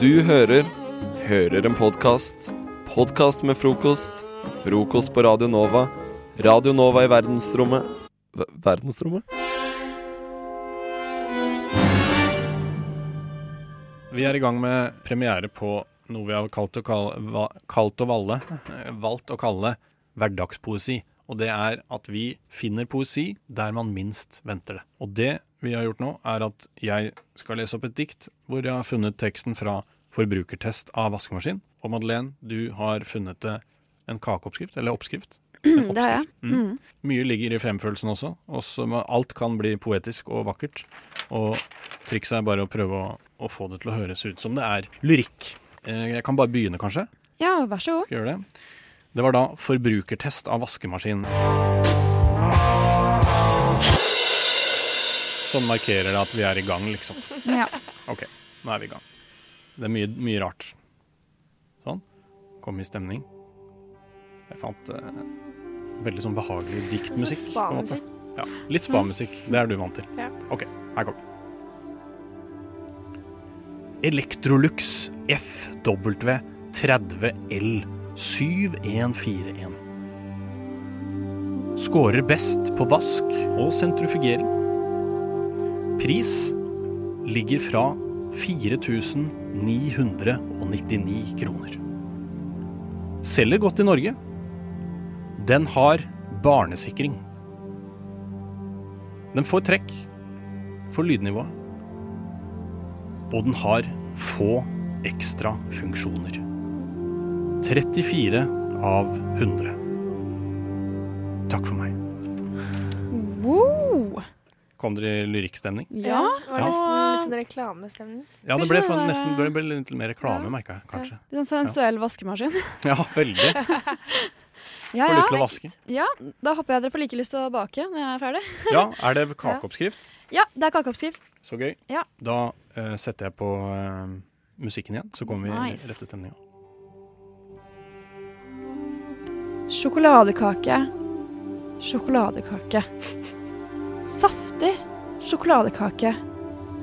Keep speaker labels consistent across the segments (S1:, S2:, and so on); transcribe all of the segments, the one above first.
S1: Du hører Hører en podkast. Podkast med frokost. Frokost på Radio Nova. Radio Nova i verdensrommet Ver- Verdensrommet?
S2: Vi er i gang med premiere på noe vi har kalt å, kal- va- kalt å valle, eh, valgt å kalle hverdagspoesi. Og det er at vi finner poesi der man minst venter det. Og det vi har gjort nå, er at jeg skal lese opp et dikt hvor jeg har funnet teksten fra Forbrukertest av vaskemaskin. Og Madeleine, du har funnet det en kakeoppskrift, eller oppskrift. En
S3: Det har jeg.
S2: oppskrift. Mm. Mye ligger i fremfølelsen også. også. men Alt kan bli poetisk og vakkert. Og trikset er bare å prøve å, å få det til å høres ut som det er lyrikk. Eh, Jeg kan bare begynne, kanskje.
S3: Ja, vær så god.
S2: Skal jeg gjøre det? Det var da forbrukertest av vaskemaskin. Sånn markerer det at vi er i gang, liksom.
S3: Ja.
S2: Ok, nå er vi i gang. Det er mye, mye rart. Sånn. Kom i stemning. Jeg fant eh, veldig sånn behagelig diktmusikk. på en måte. Ja, litt spamusikk. Det er du vant til.
S4: Ja.
S2: Ok, her kommer den. Electrolux FW30L 7141. Skårer best på vask og sentrifugering. Pris ligger fra 4999 kroner. Selger godt i Norge. Den har barnesikring. Den får trekk for lydnivået. Og den har få ekstra funksjoner. 34 av 100. Takk for meg.
S3: Wow.
S2: Kom dere i lyrikkstemning?
S3: Ja.
S4: Det var
S2: Ja.
S4: nesten litt sånn reklamestemning.
S2: Ja, det
S3: Ah. Først
S2: ble,
S3: så
S2: for,
S3: var det-
S2: nesten, det ble litt mer reklame, merka jeg kanskje.
S3: Litt sånn sensuell vaskemaskin.
S2: Ja, veldig. Får
S3: Ja,
S2: lyst
S3: ja.
S2: til å vaske.
S3: ja, da håper jeg dere får like lyst til å bake når jeg er ferdig.
S2: Ja, er det kakeoppskrift?
S3: Ja, det er kakeoppskrift.
S2: Så gøy.
S3: Ja.
S2: Da eh, setter jeg på eh, musikken igjen, så kommer vi
S3: Nice.
S2: i rette stemninga.
S3: Sjokoladekake. Sjokoladekake. Saftig sjokoladekake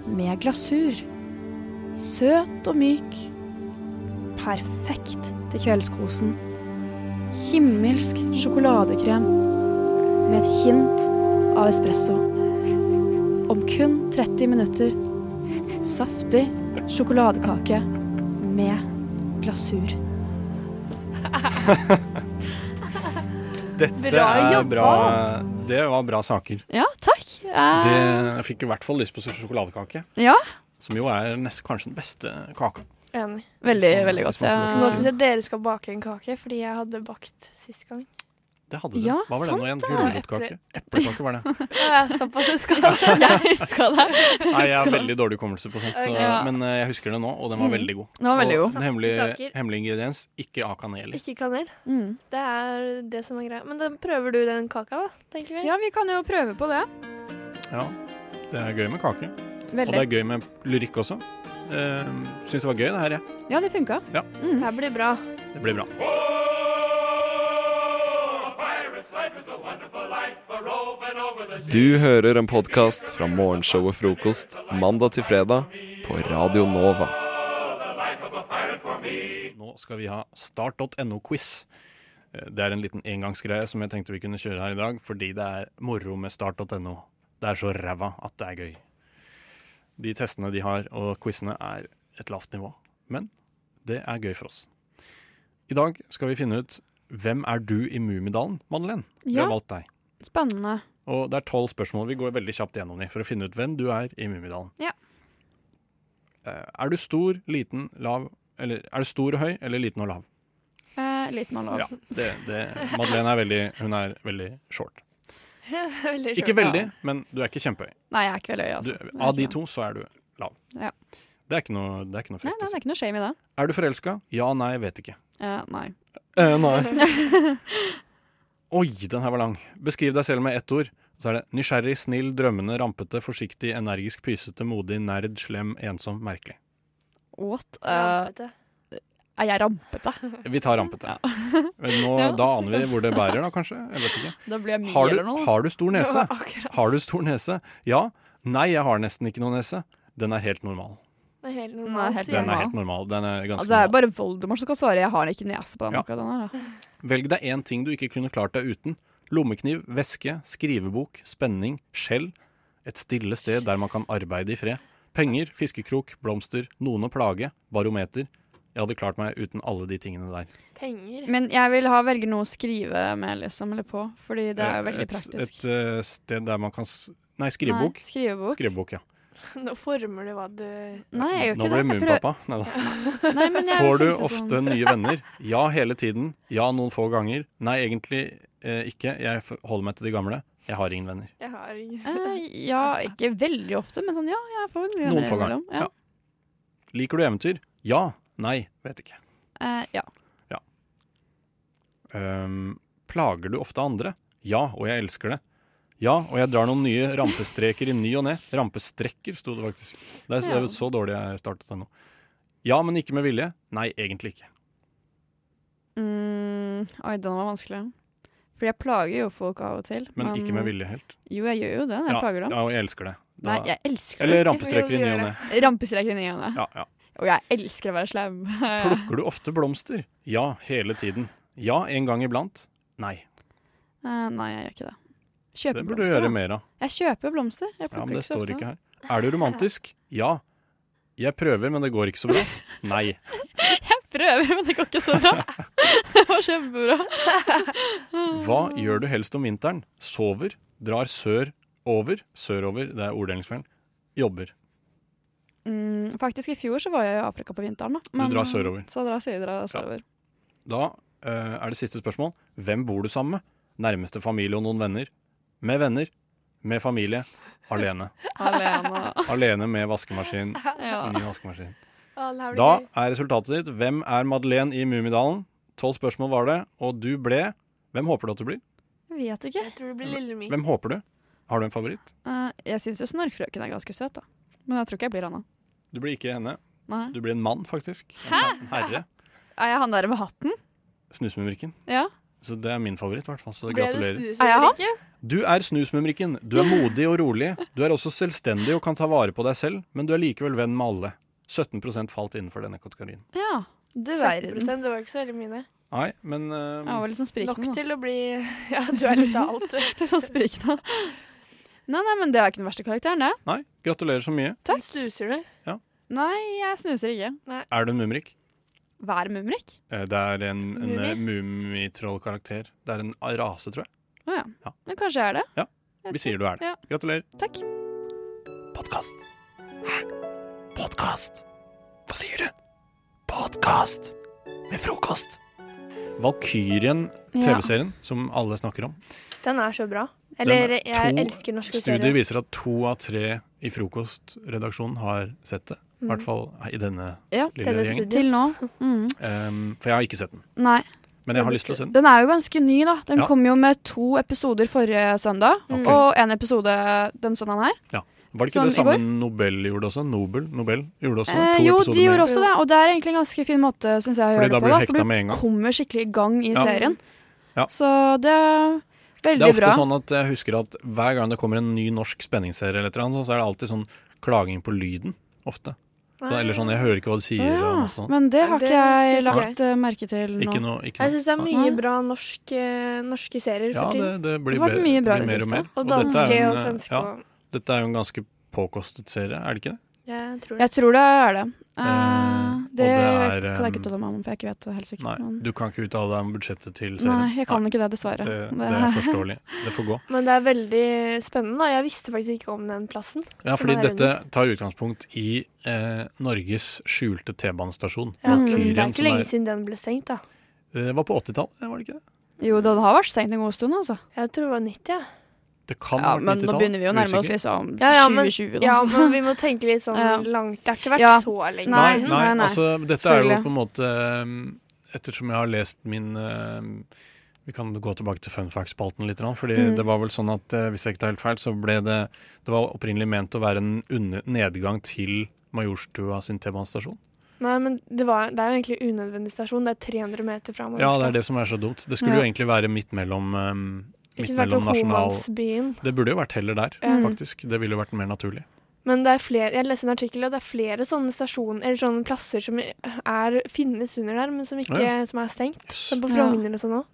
S3: med glasur. Søt og myk. Perfekt til kveldskosen. Himmelsk sjokoladekrem med et hint av espresso. Om kun 30 minutter. Saftig sjokoladekake med glasur.
S2: Dette
S4: Bra
S2: er
S4: jobba!
S2: bra. Det var bra saker.
S3: Ja, takk. Eh,
S2: Det, jeg fikk i hvert fall lyst på sjokoladekake.
S3: Ja.
S2: Som jo er nest, kanskje den beste kaka.
S4: Enig.
S3: Veldig,
S2: Sånn,
S3: veldig godt.
S2: sånn
S3: Ja.
S2: kan
S4: Nå
S2: si.
S4: syns jeg dere skal bake en kake, fordi jeg hadde bakt sist gang.
S2: Det hadde du.
S3: Ja,
S2: Hva var det nå igjen? Gulrotkake? Eplekake var det.
S4: Ja, såpass husker jeg.
S3: Jeg huska det.
S2: Nei, jeg har veldig dårlig hukommelse på sånt, så,
S3: Ja.
S2: men eh, jeg husker det nå, og den var
S3: Mm.
S2: veldig god.
S3: Den var veldig
S2: Og
S3: god.
S2: den hemmelige,
S4: Saftige saker.
S2: hemmelige ingrediens ikke A-kanel i.
S4: Ikke kanel.
S3: Mm.
S4: Det er det som er greia. Men da prøver du den kaka, da, tenker vi.
S3: Ja, vi kan jo prøve på det.
S2: Ja, det er gøy med kake. Og det
S3: Veldig.
S2: er gøy med lyrikk også. Uh, Syns det var gøy, det her. Ja.
S3: Ja, det funka.
S4: Det her blir bra.
S2: Det blir bra.
S1: Du hører en podkast fra morgenshowet Frokost mandag til fredag på Radio Nova.
S2: Nå skal vi ha start.no-quiz. Eh, Det er en liten engangsgreie som jeg tenkte vi kunne kjøre her i dag, fordi det er moro med start.no. Det er så ræva at det er gøy. De testene de har, og quizene, er et lavt nivå. Men det er gøy for oss. I dag skal vi finne ut hvem er du i Mummidalen, Madeleine? Vi
S3: Ja,
S2: har valgt deg.
S3: spennende.
S2: Og det er tolv spørsmål. Vi går veldig kjapt gjennom dem for å finne ut hvem du er i Mummidalen.
S3: Ja.
S2: Eh, Er du stor, liten, lav Eller er du stor og høy, eller liten og lav?
S3: Eh, liten og lav.
S2: Ja, det, det, Madeleine er veldig Hun er veldig short.
S4: Veldig
S2: Ikke
S4: skjønt.
S2: veldig, men du er ikke kjempehøy.
S3: Nei, jeg er ikke veldig høy,
S2: Du,
S3: altså. Jeg er
S2: av de
S3: ikke det.
S2: to så er du lav.
S3: Ja.
S2: Det er ikke noe, det er ikke
S3: Nei,
S2: noe frekt
S3: nei,
S2: å
S3: det
S2: si.
S3: er ikke noe shame i det.
S2: Er du forelska? Ja, nei, vet ikke.
S3: Eh, nei.
S2: Eh, nei. Oi, den her var lang. Beskriv deg selv med ett ord. Så er det nysgjerrig, snill, drømmende, rampete, forsiktig, energisk, pysete, modig, nerd, slem, ensom, merkelig.
S3: What? Eh,
S4: Rampete.
S3: er jeg rampete?
S2: Vi tar rampete. Men Nå,
S3: Ja.
S2: Da aner vi hvor det bærer, da, kanskje. Jeg vet ikke.
S3: Da blir jeg mye
S2: Har
S3: eller
S2: du,
S3: noe.
S2: har du stor
S4: Det
S2: nese?
S4: var akkurat
S2: Har du stor nese? Ja. Nei, jeg har nesten ikke noe nese. Den er helt normal.
S4: Det er helt
S3: Nei,
S4: normalt.
S3: helt
S4: sier
S2: Den er
S4: jeg.
S3: normal.
S2: helt normal. Den er
S3: Altså,
S2: ganske
S3: det er
S2: normal.
S3: bare Voldemort som kan svare 'jeg har ikke nese på den'.
S2: Ja.
S3: akkurat den her, da.
S2: Velg deg én ting du ikke kunne klart deg uten. Lommekniv, veske, skrivebok, spenning, skjell. Et stille sted der man kan arbeide i fred. Penger, fiskekrok, blomster, noen å plage, barometer. Jeg hadde klart meg uten alle de tingene der.
S4: Penger.
S3: Men jeg vil ha velge noe å skrive med, liksom, eller på, fordi det er jo veldig
S2: et,
S3: praktisk.
S2: Et eh, sted der man kan s Nei, skrivebok.
S3: Nei, skrivebok.
S2: Skrivebok, ja.
S4: Nå former du hva du
S3: Nei, jeg gjør
S2: Nå
S3: ikke
S2: ble det
S3: det. Jeg prøver-
S2: Mumpappa. Neida.
S3: Nei, men jeg
S2: Får du
S3: tenkte
S2: ofte
S3: sånn,
S2: nye venner? Ja, hele tiden. Ja, noen få ganger. Nei, egentlig eh, ikke. Jeg f- holder meg til de gamle. Jeg har ingen venner.
S4: Jeg har ingen
S3: eh, Ja, ikke veldig ofte, men sånn ja, jeg får en
S2: Noen få ganger.
S3: innimellom, Ja.
S2: Liker du eventyr? Ja. Nei. Vet ikke.
S3: Eh, ja.
S2: Ehm, plager du ofte andre? Ja, og jeg elsker det. Ja, og jeg drar noen nye rampestreker i ny og ne. Rampestrekker, sto det faktisk. Det er, det
S3: Ja.
S2: er så dårlig jeg startet ennå. Ja, men ikke med vilje. Nei, egentlig ikke.
S3: Mm, oi, den var vanskelig. For jeg plager jo folk av og til.
S2: Men ikke med vilje helt.
S3: Jo, jeg gjør jo det når jeg
S2: Ja,
S3: plager dem.
S2: ja, og jeg elsker det. Da,
S3: Nei, jeg elsker
S2: eller
S3: det ikke.
S2: rampestreker i ny og ne.
S3: Rampestreker i ny og ne.
S2: Ja, ja.
S3: Og jeg elsker å være slem.
S2: Plukker du ofte blomster? Ja, hele tiden. Ja, en gang iblant. Nei,
S3: Eh, nei, jeg gjør ikke det.
S2: det
S3: Kjøper
S2: burde du gjøre
S3: blomster, da.
S2: mer av.
S3: Jeg kjøper blomster. Jeg
S2: Ja,
S3: plukker
S2: men det
S3: ikke så
S2: står
S3: ofte.
S2: ikke her. Er du romantisk? Ja. Jeg prøver, men det går ikke så bra. Nei.
S3: Jeg prøver, men det går ikke så bra. det var kjempebra.
S2: Hva
S5: Mm.
S2: gjør du helst om vinteren? Sover? Drar sør over? Sørover, det er orddelingsfeilen. Jobber.
S3: Mm, faktisk, i fjor så var jeg i Afrika på vinteren. Da.
S2: drar sørover.
S3: Så drar jeg drar sørover.
S2: Da eh, er det siste spørsmål. Hvem bor du sammen med? Nærmeste familie og noen venner? Med venner? Med familie? Alene.
S3: Alene.
S2: Alene med vaskemaskin.
S3: Ja.
S2: Ny vaskemaskin.
S4: Å, det her blir
S2: Da
S4: gøy.
S2: er resultatet ditt Hvem er Madeleine i Mummidalen? Tolv spørsmål var det, og du ble Hvem håper du at du blir?
S3: Jeg vet ikke.
S4: Jeg tror det blir Lille Mikk.
S2: Hvem håper du? Har du en favoritt?
S3: Eh, jeg syns jo Snorkfrøken er ganske søt, da. Men jeg tror ikke jeg blir Anna.
S2: Du blir ikke henne.
S3: Nei.
S2: Du blir en mann, faktisk. En herre.
S3: Er jeg han der med hatten?
S2: Snusmumrikken.
S3: Ja.
S2: Så det er min favoritt, i hvert fall. Så
S4: Ble
S2: gratulerer.
S4: det
S3: Er jeg han?
S4: snusøyeblikket?
S2: Du er Snusmumrikken. Du er modig og rolig. Du er også selvstendig og kan ta vare på deg selv, men du er likevel venn med alle. 17 falt innenfor denne kategorien.
S3: Ja. Du
S4: 17%,
S3: verden.
S4: Det var ikke så veldig mye. det.
S2: Nei, men eh,
S3: Jeg var litt sånn
S4: Nok
S3: sprikende. da.
S4: til å bli Ja, du er litt av alt.
S3: Litt sånn sprikende. Nei, nei, men det er ikke den verste karakteren, det.
S2: Nei, gratulerer så mye.
S3: Takk.
S4: Snuser du?
S3: Nei, jeg snuser ikke.
S2: Er du en mumrik?
S3: Vær mumrik.
S2: Eh, Det er en, en
S4: Mumie?
S2: eh, mummitrollkarakter. Det er en rase, tror jeg.
S3: Å ja.
S2: Ja.
S3: Men kanskje jeg er det.
S2: Ja,
S3: Jeg
S2: Vi
S3: vet
S2: sier du er det.
S3: Ja.
S2: Gratulerer.
S3: ikke. Takk.
S1: Podkast. Hæ? Podkast? Hva sier du? Podkast med frokost.
S2: Valkyrien,
S3: Ja.
S2: TV-serien som alle snakker om.
S4: Den er så bra.
S2: Den er-
S4: Eller, jeg
S2: to
S4: elsker norske
S2: Studier
S4: serier.
S2: viser at to av tre i Frokostredaksjonen har sett det. I hvert fall i denne
S3: Mm. Ja,
S2: lille
S4: denne
S2: gjengen.
S4: studien.
S3: Til nå. Mm.
S2: Ehm, for jeg har ikke sett den.
S3: Nei.
S2: Men jeg har lyst til å se den.
S3: Den er jo ganske ny, da. Den
S2: Ja.
S3: kom jo med to episoder forrige søndag.
S2: Ok.
S3: Og en episode den søndagen her.
S2: Var det ikke
S3: Sånn
S2: det
S3: i
S2: samme Nobel gjorde også? Nobel, Nobel gjorde også
S3: Eh,
S2: to
S3: jo,
S2: episoder
S3: de gjorde
S2: med.
S3: også det, og det er egentlig en ganske fin måte synes jeg, å
S2: Fordi
S3: gjøre
S2: da
S3: det på.
S2: blir
S3: Da,
S2: du hekta
S3: for
S2: med en
S3: du
S2: gang.
S3: kommer skikkelig i gang i
S2: Ja.
S3: serien.
S2: Ja.
S3: Så det er
S2: Det
S3: veldig
S2: er ofte
S3: bra.
S2: sånn at jeg husker at hver gang det kommer en ny norsk spenningsserie, eller et eller annet, så er det alltid sånn klaging på lyden. Ofte. Så, eller sånn 'jeg hører ikke hva de sier'. og
S3: ja,
S2: masse sånn.
S3: men det
S4: Ja,
S3: har
S4: det
S3: ikke jeg
S4: synes jeg.
S3: lagt eh, merke til nå.
S2: Ikke noe, ikke
S4: Jeg
S2: noe.
S4: syns det er
S3: Nei.
S4: mye bra norsk, eh, norske serier
S2: Ja,
S4: for
S2: det,
S4: tiden.
S2: det blir
S3: Det har vært
S2: be-
S3: mye bra i det
S2: blir mer og
S3: siste.
S2: mer.
S4: Og
S2: dette er
S4: danske
S2: en,
S4: og
S2: eh,
S4: svenske
S2: ja,
S4: og
S2: Dette er jo en ganske påkostet serie, er det ikke det?
S4: Jeg tror det.
S3: Jeg tror det er det. Eh,
S2: Eh, og
S3: det,
S2: det er,
S3: kan jeg ikke
S2: eh,
S3: uttale meg om, for jeg ikke vet det helt sikkert.
S2: Nei,
S3: men-
S2: du kan ikke uttale deg om budsjettet til serien.
S3: Sånn. Nei, jeg kan ikke det, dessverre.
S2: det, det
S3: Det-
S2: er forståelig. Det får gå.
S4: Men det er veldig spennende. da. Jeg visste faktisk ikke om den plassen.
S2: Ja,
S4: som
S2: fordi
S4: er
S2: dette tar utgangspunkt i eh, Norges skjulte T-banestasjon.
S4: Ja, men
S2: Valkyrien,
S4: det er ikke
S2: som Eh,
S4: lenge siden den ble stengt, da.
S2: Det var på 80-tallet, var det ikke det?
S3: Jo, den har vært stengt en god stund, altså.
S4: Jeg tror det var 90, ja.
S2: Det kan
S3: Ja,
S2: ha vært
S3: men nå
S2: 90-tallet,
S3: begynner vi jo å nærme oss
S2: usikker.
S3: liksom
S4: Ja, ja, men-
S3: 2020. da,
S4: Ja,
S3: så-
S4: men vi må tenke litt sånn
S3: Ja.
S4: langt. Det har ikke vært
S3: Ja.
S4: så lenge
S2: Nei,
S3: Nei,
S2: nei,
S4: siden.
S3: nei, nei.
S2: altså dette er jo
S3: Selvfølgelig.
S2: på en måte um, Ettersom jeg har lest min uh, Vi kan gå tilbake til fun fact-spalten litt, grann, fordi
S3: Mm.
S2: det var vel sånn at uh, hvis jeg ikke tar helt feil, så ble det Det var opprinnelig ment å være en under, nedgang til Majorstua sin T-banestasjon.
S4: Nei, men det, var, det er jo egentlig unødvendig stasjon. Det er 300 meter framover.
S2: Ja, det er det som er så dumt. Det skulle
S3: Ja.
S2: jo egentlig være midt mellom um,
S4: Ikke vært
S2: Midt mellom
S4: på
S2: nasjonal
S4: Homansbyen.
S2: Det burde jo vært heller der,
S4: Ja.
S2: faktisk. Det ville jo vært mer naturlig.
S4: Men det er flere, jeg leste en artikkel, og det er flere sånne stasjoner, eller sånne plasser som er, finnes under der, men som, ikke, som er stengt. Som på
S3: Ja.
S4: Frogner og sånn òg.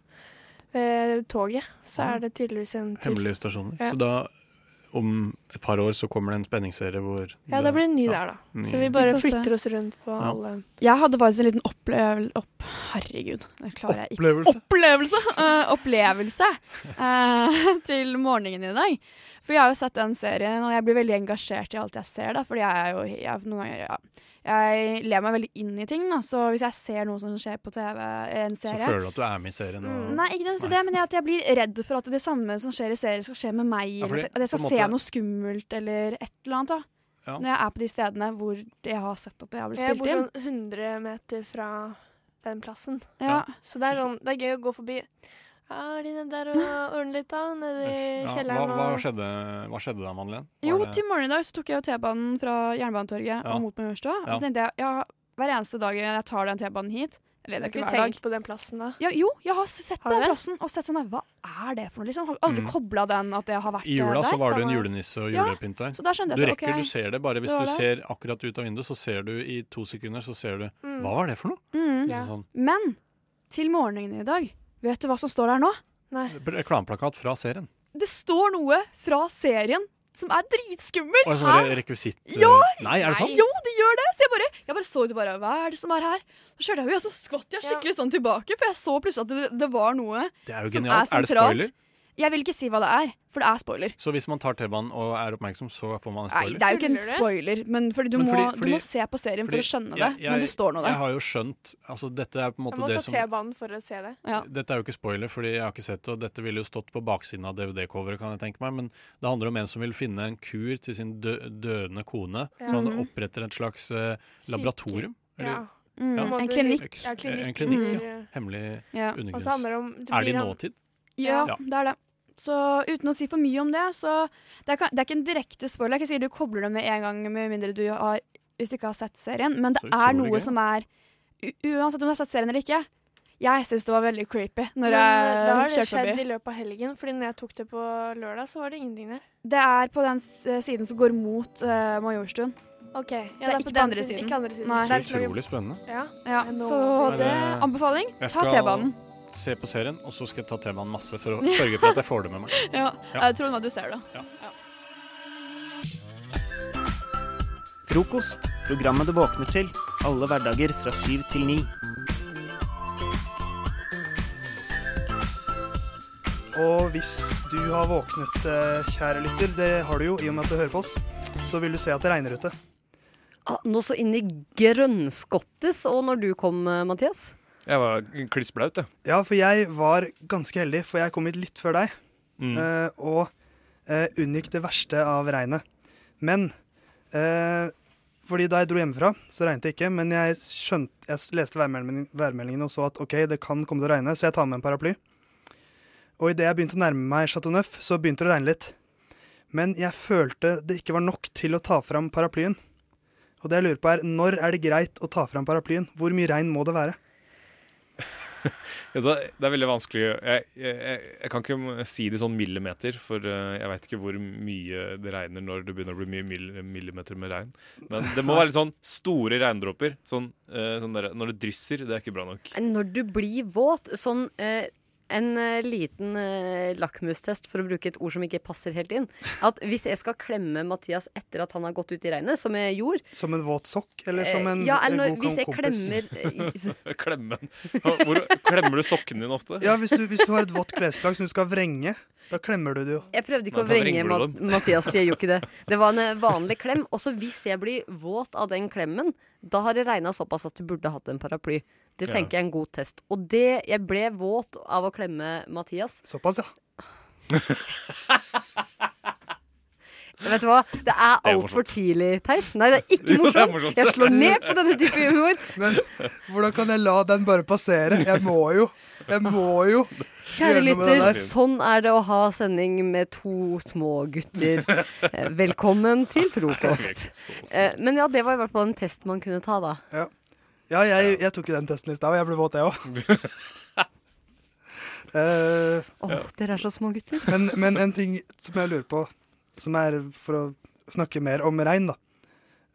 S4: Ved toget så
S2: Ja.
S4: er det tydeligvis en til.
S2: Hemmelige stasjoner.
S4: Ja.
S2: Så da, om et par år, så kommer det en spenningsserie hvor
S4: Ja, det blir en ny der, da.
S2: Ny.
S4: Så vi bare
S3: Vi får se.
S4: flytter oss rundt på alle
S3: Eh, Jeg hadde faktisk en liten opplevelse opp, Herregud, det klarer jeg ikke.
S2: Opplevelse.
S3: Opplevelse! eh, opplevelse eh, til morgenen i dag. For jeg har jo sett den serien, og jeg blir veldig engasjert i alt jeg ser. da, fordi jeg er jo jeg, noen ganger, ja, jeg ler meg veldig inn i ting. da, Så hvis jeg ser noe som skjer på TV, en
S2: Så
S3: serie Mm,
S2: føler du at du er med i serien. Og,
S3: Nei, ikke nødvendigvis
S2: Nei.
S3: det, men jeg, at jeg blir redd for at det samme som skjer i serien, skal skje med meg.
S2: Ja, fordi
S3: eller at jeg skal
S2: på en
S3: se
S2: måte-
S3: noe skummelt eller et eller annet. da.
S2: Ja.
S3: Når jeg er på de stedene hvor jeg har sett at jeg har blitt
S4: Jeg bor
S3: spilt inn.
S4: sånn 100 meter fra den plassen.
S3: Ja.
S4: Så det er sånn, det er gøy å gå forbi. Ja, er de nede der og ordner litt, da? Nede i
S2: Ja, hva,
S4: kjelleren
S2: hva,
S4: og
S2: skjedde, hva skjedde da, Madeleine? Var
S3: Jo,
S2: det-
S3: til morgenen i dag så tok jeg jo T-banen fra Jernbanetorget
S2: Ja.
S3: og mot Majorstua. Og
S2: Ja.
S3: så tenkte jeg, ja, hver eneste dag jeg tar den T-banen hit Eller det
S4: Har
S3: er ikke
S4: ikke
S3: hver dag.
S4: tenkt på den plassen da.
S3: Ja, jo, jeg har sett
S4: Har
S3: på
S4: du
S3: den
S4: det?
S3: plassen og sett sånn der, Hva er det for noe? liksom? Har aldri
S2: Mm.
S3: koblet kobla den at jeg har vært
S2: I jula
S3: eh, der.
S2: så var det en
S4: samme-
S2: julenisse og
S3: Ja,
S2: julepynt der.
S3: Så da skjønte
S2: Du
S3: jeg at
S2: rekker,
S3: ok,
S2: du ser det. Bare hvis
S3: Det var
S2: du
S3: det.
S2: ser akkurat ut av vinduet, så ser du i to sekunder så ser du
S4: Mm.
S2: Hva var det for noe?
S3: mm.
S4: Ja.
S2: Liksom
S3: Men til morgenen i dag, vet du hva som står der nå?
S4: Nei.
S2: Sånn, reklameplakat fra serien.
S3: Det står noe fra serien som er dritskummel!
S2: Og en
S3: Hæ?
S2: sånn rekvisitt
S3: Ja,
S2: Nei, er det sant?
S3: Jo, det gjør det! Så jeg bare, jeg bare så ut og bare Hva er det som er her? Så skjønte jeg jo, så skvatt jeg skikkelig sånn tilbake, for jeg så plutselig at det, det var noe
S2: Det er jo
S3: som
S2: genialt.
S3: er
S2: Er det
S3: sentralt.
S2: spoiler?
S3: Jeg vil ikke si hva det er, for det er spoiler.
S2: Så hvis man tar T-banen og er oppmerksom, så får man en
S3: Nei,
S2: spoiler?
S3: det er jo ikke en
S4: Tuller du?
S3: spoiler, men fordi du,
S2: Men fordi-
S3: må,
S2: fordi-
S3: du må se på serien for
S2: fordi
S3: å skjønne det.
S2: jeg- jeg-
S3: men det står noe
S2: jeg
S3: der.
S2: har jo skjønt Altså, dette er på en
S4: Jeg
S2: måte
S4: må
S2: det
S4: ta
S2: som
S4: T-banen for å se det.
S3: Ja.
S2: Dette er jo ikke spoiler, fordi jeg har ikke sett det, og dette ville jo stått på baksiden av DVD-coveret, kan jeg tenke meg, men det handler om en som vil finne en kur til sin dø døende kone, så han
S3: Mhm.
S2: oppretter et slags eh, laboratorium,
S4: Ja.
S2: eller
S3: Mm,
S2: Ja.
S3: En klinikk.
S2: Eks-
S4: Ja, klinikk.
S2: en klinikk,
S4: Mm.
S2: hemmelig
S3: Ja.
S4: Og så
S2: undergrunns.
S4: handler det om det
S2: Er det i
S4: blir han-
S2: nåtid?
S3: ja,
S2: Ja.
S3: det er det. Så uten å si for mye om det, så Det er, ka- det er ikke en direkte spoiler. Jeg kan si du kobler det med en gang, med mindre du har, hvis du ikke har sett serien. Men det
S2: Så
S3: er
S2: utrolig
S3: noe
S2: gøy.
S3: som er u Uansett om du har sett serien eller ikke. Jeg syns det var veldig creepy når
S4: Men, eh, Da har
S3: jeg
S4: det
S3: kjørte
S4: skjedd
S3: forbi.
S4: i løpet av helgen, fordi når jeg tok det på lørdag, så var det ingenting der.
S3: Det er på den s- eh, siden som går mot eh, Majorstuen.
S4: Ok, ja, det
S3: er
S4: er
S3: ikke
S4: på
S3: på
S4: den
S3: andre
S4: siden.
S3: siden.
S4: Ikke andre siden.
S3: Nei.
S4: Der
S2: Så
S4: er det noe-
S2: utrolig spennende.
S4: Ja.
S3: Ja,
S4: Men nå-
S3: så
S4: Men
S3: det
S2: det-
S3: Anbefaling,
S2: eh, Jeg
S3: ta
S2: skal-
S3: T-banen.
S2: Se på serien, og så skal jeg ta T-banen masse for å sørge for at jeg får det med meg.
S3: Ja.
S2: Ja.
S3: Jeg tror nå du ser det.
S6: Frokost. Programmet du våkner til. Alle hverdager fra syv til ni.
S7: Og hvis du har våknet, eh, kjære lytter, det har du jo i og med at du hører på oss, så vil du se at det regner ute.
S8: Ah, Nå så inn i grønnskottes, og når du kom, eh, Mathias
S9: Jeg var klissblaut, jeg.
S7: Ja, for jeg var ganske heldig, for jeg kom hit litt før deg,
S2: Mm.
S7: eh, og eh, unngikk det verste av regnet. Men eh, fordi da jeg dro hjemmefra, så regnet det ikke, men jeg, skjønte, jeg leste værmeldingen, værmeldingen og så at ok, det kan komme til å regne, så jeg tar med en paraply. Og idet jeg begynte å nærme meg Chateau Neuf, så begynte det å regne litt. Men jeg følte det ikke var nok til å ta fram paraplyen. Og det jeg lurer på er, når er det greit å ta fram paraplyen? Hvor mye regn må det være?
S9: Altså, Det er veldig vanskelig jeg, jeg, jeg, jeg kan ikke si det i sånn millimeter, for eh, jeg veit ikke hvor mye det regner når det begynner å bli mye mill- millimeter med regn. Men det må være litt sånn store regndråper. Sånn, eh, sånn der, når det drysser, det er ikke bra nok.
S8: Nei, Når du blir våt Sånn eh, en eh, liten eh, lakmustest, for å bruke et ord som ikke passer helt inn. At hvis jeg skal klemme Mathias etter at han har gått ut i regnet, som jeg gjorde
S7: Som en våt sokk, eller som
S8: eh,
S7: en
S8: ja,
S7: eh,
S8: eller når,
S7: god
S8: Hvis jeg
S7: kompis?
S8: klemmer eh,
S9: Klemmen. Hvor, klemmer du sokkene dine ofte?
S7: Ja, hvis du, hvis du har et vått klesplagg som du skal vrenge, da klemmer du det jo.
S8: Jeg prøvde ikke
S9: Men
S8: å
S9: da
S8: vrenge
S9: vrenger du
S8: Mat Mathias, jeg gjorde ikke det. Det var en eh, vanlig klem. Og så hvis jeg blir våt av den klemmen, da har det regna såpass at du burde hatt en paraply. Det
S9: Ja.
S8: tenker jeg er en god test. Og det Jeg ble våt av å klemme Mathias.
S7: Såpass, ja.
S8: Vet du hva? Det er
S9: Det er
S8: altfor tidlig, Theis. Nei, det er ikke
S9: Jo, det er
S8: morsomt.
S9: morsomt.
S8: Jeg slår ned på denne type humor.
S7: Men hvordan kan jeg la den bare passere? Jeg må jo. Jeg må jo.
S8: Kjære
S7: Gjør noe med
S8: lytter,
S7: det der.
S8: sånn er det å ha sending med to små gutter. Eh, Velkommen til frokost. Eh, Men ja, det var i hvert fall en test man kunne ta, da.
S7: Ja, jeg, jeg tok jo den testen i stad, og jeg ble våt, jeg òg. Eh,
S8: Åh, dere er så små gutter.
S7: men, men en ting som jeg lurer på, som er for å snakke mer om regn, da.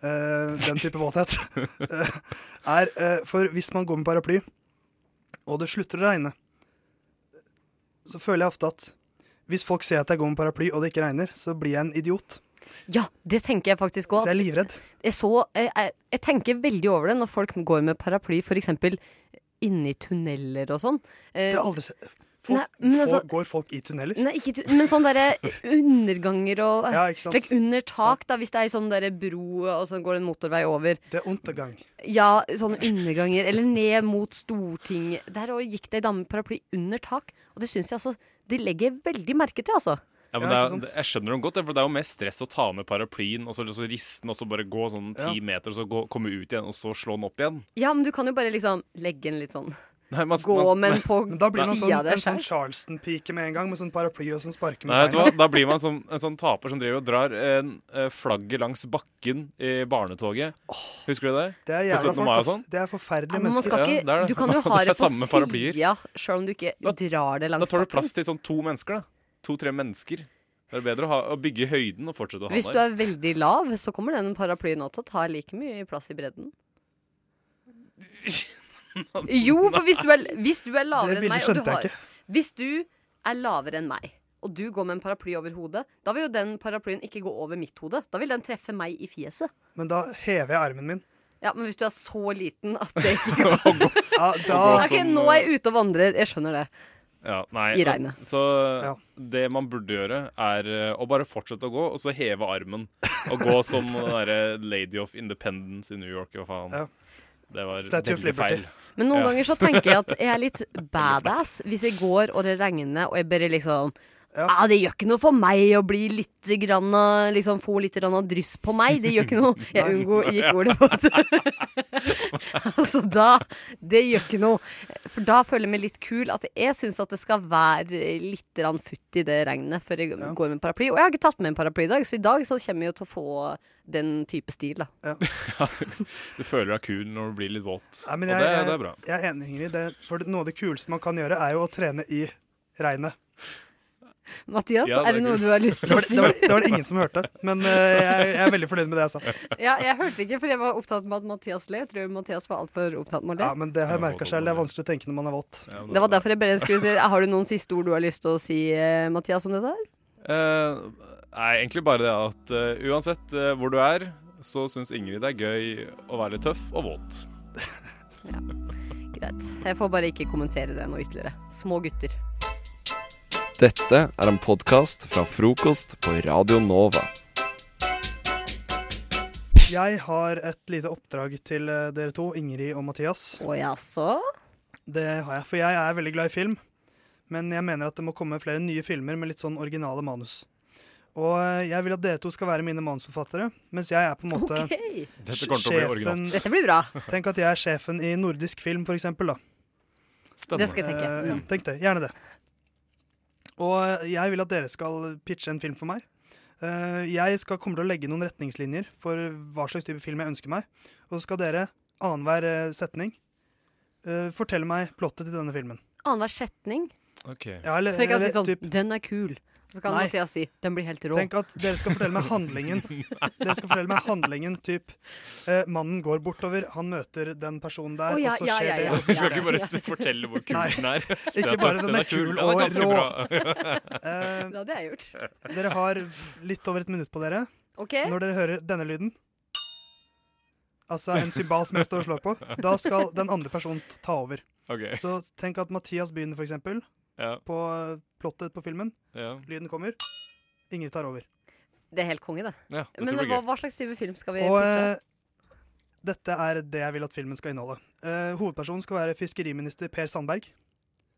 S7: Eh, den type våthet. Eh, er, eh, for hvis man går med paraply, og det slutter å regne, så føler jeg ofte at hvis folk ser at jeg går med paraply og det ikke regner, så blir jeg en idiot.
S8: Ja, det tenker jeg faktisk
S7: Så
S8: òg.
S7: jeg er livredd.
S8: Jeg, så- jeg, jeg, jeg tenker veldig over det når folk går med paraply, f.eks. inni tunneler og sånn. Eh,
S7: Det har jeg aldri sett.
S8: Nei,
S7: Folk,
S8: men altså-
S7: folk, går folk i tunneler?
S8: Nei, ikke, tu- men sånn derre underganger og
S7: Ja, ikke sant?
S8: Slik under tak, da, hvis det er sånn derre bro, og så går det en motorvei over.
S7: Det er undergang.
S8: Ja, sånne underganger. Eller ned mot Stortinget. Der òg gikk det ei dame med paraply under tak, og det syns jeg altså De legger jeg veldig merke til, altså.
S9: Ja, men det
S7: Ja, ikke
S9: er,
S7: sant?
S9: det- jeg skjønner dem godt, det, for det er jo mest stress å ta med paraplyen og så, og så riste den, og så bare gå sånn ti
S7: Ja.
S9: meter, og så gå, komme ut igjen, og så slå den opp igjen.
S8: Ja, men du kan jo bare liksom legge den litt sånn
S9: Nei, man,
S8: Gå,
S9: man,
S8: men på
S7: Men da blir man sånn,
S8: sida av
S7: en
S8: deg
S7: sånn
S8: sjøl.
S7: Charleston-pike med en gang, med sånn paraply og sånn sparke
S9: Nei,
S7: med
S9: vet du hva? Da blir man som en sånn taper som driver og drar en, eh, flagget langs bakken i barnetoget. Husker du det?
S7: Det er
S9: På 17.
S7: jævla folk,
S9: mai og
S7: ass.
S9: sånn?
S7: Det er forferdelige
S8: Ja, men man
S7: mennesker.
S8: skal
S9: Ja, det
S8: ikke,
S9: er det.
S8: du kan jo ha
S9: Det er
S8: det på
S9: samme med paraplyer.
S8: sida, sjøl om du ikke
S9: Da-
S8: drar det
S9: Da
S8: langs
S9: tar du
S8: bakken.
S9: plass til sånn to mennesker, da. To-tre mennesker. Det er bedre å, ha, å bygge høyden og fortsette å ha
S8: Hvis du
S9: der.
S8: er veldig lav, så kommer den paraplyen nå til å ta like mye plass i bredden. Jo, for hvis du er, hvis du er
S7: Det
S8: lavere enn
S7: bildet
S8: meg og du
S7: skjønte jeg
S8: har,
S7: ikke.
S8: Hvis du er lavere enn meg, og du går med en paraply over hodet, da vil jo den paraplyen ikke gå over mitt hode. Da vil den treffe meg i fjeset.
S7: Men da hever jeg armen min.
S8: Ja, Men hvis du er så liten at det ikke går
S7: Ja, da,
S9: Og
S8: Ok,
S9: som,
S8: Nå er jeg ute og vandrer. Jeg skjønner det.
S9: ja, nei,
S8: i regnet.
S9: Så
S7: Ja.
S9: det man burde gjøre, er eh, å bare fortsette å gå, og så heve armen. Og gå som den derre Lady of Independence i New York, hva faen.
S7: Ja.
S9: Det var
S7: Statue of
S9: veldig
S7: Liberty.
S9: feil.
S8: Men noen
S9: Ja.
S8: ganger så tenker jeg at jeg er litt badass hvis jeg går og det regner, og jeg bare liksom
S7: Ja.
S8: ah, Det gjør ikke noe for meg å bli litt grann, av- liksom, få litt grann av dryss på meg. Det gjør ikke noe. Jeg unngår gikk ordet på det. altså da Det gjør ikke noe. For da føler jeg meg litt kul. At jeg syns at det skal være litt grann futt i det regnet før
S7: Ja.
S8: jeg går med en paraply. Og jeg har ikke tatt med en paraply i dag, så i dag så kommer jeg jo til å få den type stil, da.
S9: Du føler deg kul når du blir litt våt.
S7: Nei,
S9: og
S7: men jeg-
S9: det, det er bra.
S7: jeg er enig, Ingrid. Det, for det- noe av det kuleste man kan gjøre, er jo å trene i regnet.
S8: Mathias,
S9: Ja, det er
S8: er det noe
S9: kult.
S8: du har lyst
S7: Det
S8: til
S7: var
S8: å
S7: det,
S8: si?
S7: var, det, var det ingen som hørte, men eh, jeg, jeg er veldig fornøyd med det jeg sa.
S10: Altså,
S8: Ja, jeg hørte ikke, for jeg var opptatt med at Mathias le. Jeg tror Mathias var altfor opptatt med å le.
S7: Ja, men det har jeg merka selv. Det er vanskelig å tenke når man er våt.
S9: Ja,
S8: det var derfor jeg bare skulle si Har du noen siste ord du har lyst til å si, eh, Mathias, om dette her?
S9: Eh, nei, egentlig bare det at eh, uansett eh, hvor du er, så syns Ingrid det er gøy å være tøff og våt.
S8: Greit. Jeg får bare ikke kommentere det noe ytterligere. Små gutter.
S1: Dette er en podkast fra frokost på Radio Nova.
S7: Jeg har et lite oppdrag til eh, dere to, Ingrid og Mathias.
S8: Å jaså?
S7: Det har jeg, for jeg er veldig glad i film. Men jeg mener at det må komme flere nye filmer med litt sånn originale manus. Og eh, jeg vil at dere to skal være mine manusforfattere, mens jeg er på en måte
S8: OK.
S9: Dette kommer til å bli
S7: sjefen
S9: originalt.
S8: Dette blir bra.
S7: Tenk at jeg er sjefen i nordisk film, for eksempel, da.
S8: Det skal jeg tenke.
S7: Eh, ja,
S8: Mm.
S7: tenk det. Gjerne det. Og jeg vil at dere skal pitche en film for meg. Eh, Jeg skal kommer til å legge noen retningslinjer for hva slags type film jeg ønsker meg. Og så skal dere, annenhver eh, setning, eh, fortelle meg plottet til denne filmen.
S8: Annenhver setning.
S9: Ok.
S7: Ja, eller-
S8: Så jeg kan si
S7: eller
S8: sånn
S7: typ-
S8: 'Den er kul'. Så kan
S7: Nei.
S8: Mathias si 'Den blir helt rå'.
S7: Tenk at dere skal fortelle meg handlingen. Dere skal fortelle meg handlingen, typ eh, Mannen går bortover, han møter den personen der,
S8: Å, ja,
S7: og så
S8: ja,
S7: skjer
S8: ja, ja.
S7: det.
S9: Du
S7: Og så
S9: Altså, skal
S7: skjer
S9: ikke
S7: det.
S9: bare s- fortelle hvor kul
S7: Nei.
S9: den er. Den
S7: Ikke
S9: er tøff,
S7: bare den er kul og
S9: ganske
S7: rå.
S9: bra.
S7: Eh,
S8: Det hadde jeg gjort.
S7: dere har litt over et minutt på dere
S8: OK?
S7: når dere hører denne lyden. Altså en cymbal som jeg står og slår på. Da skal den andre personen ta over.
S9: Ok,
S7: Så tenk at Mathias begynner, for eksempel,
S9: ja,
S7: på eh, plottet på filmen.
S9: ja.
S7: Lyden kommer. Ingrid tar over.
S8: Det er helt konge, det.
S9: ja dette
S8: Men
S9: blir
S8: hva,
S9: gøy.
S8: hva slags type film skal vi
S7: Og
S8: pitche?
S7: eh, dette er det jeg vil at filmen skal inneholde. Eh, hovedpersonen skal være fiskeriminister Per Sandberg.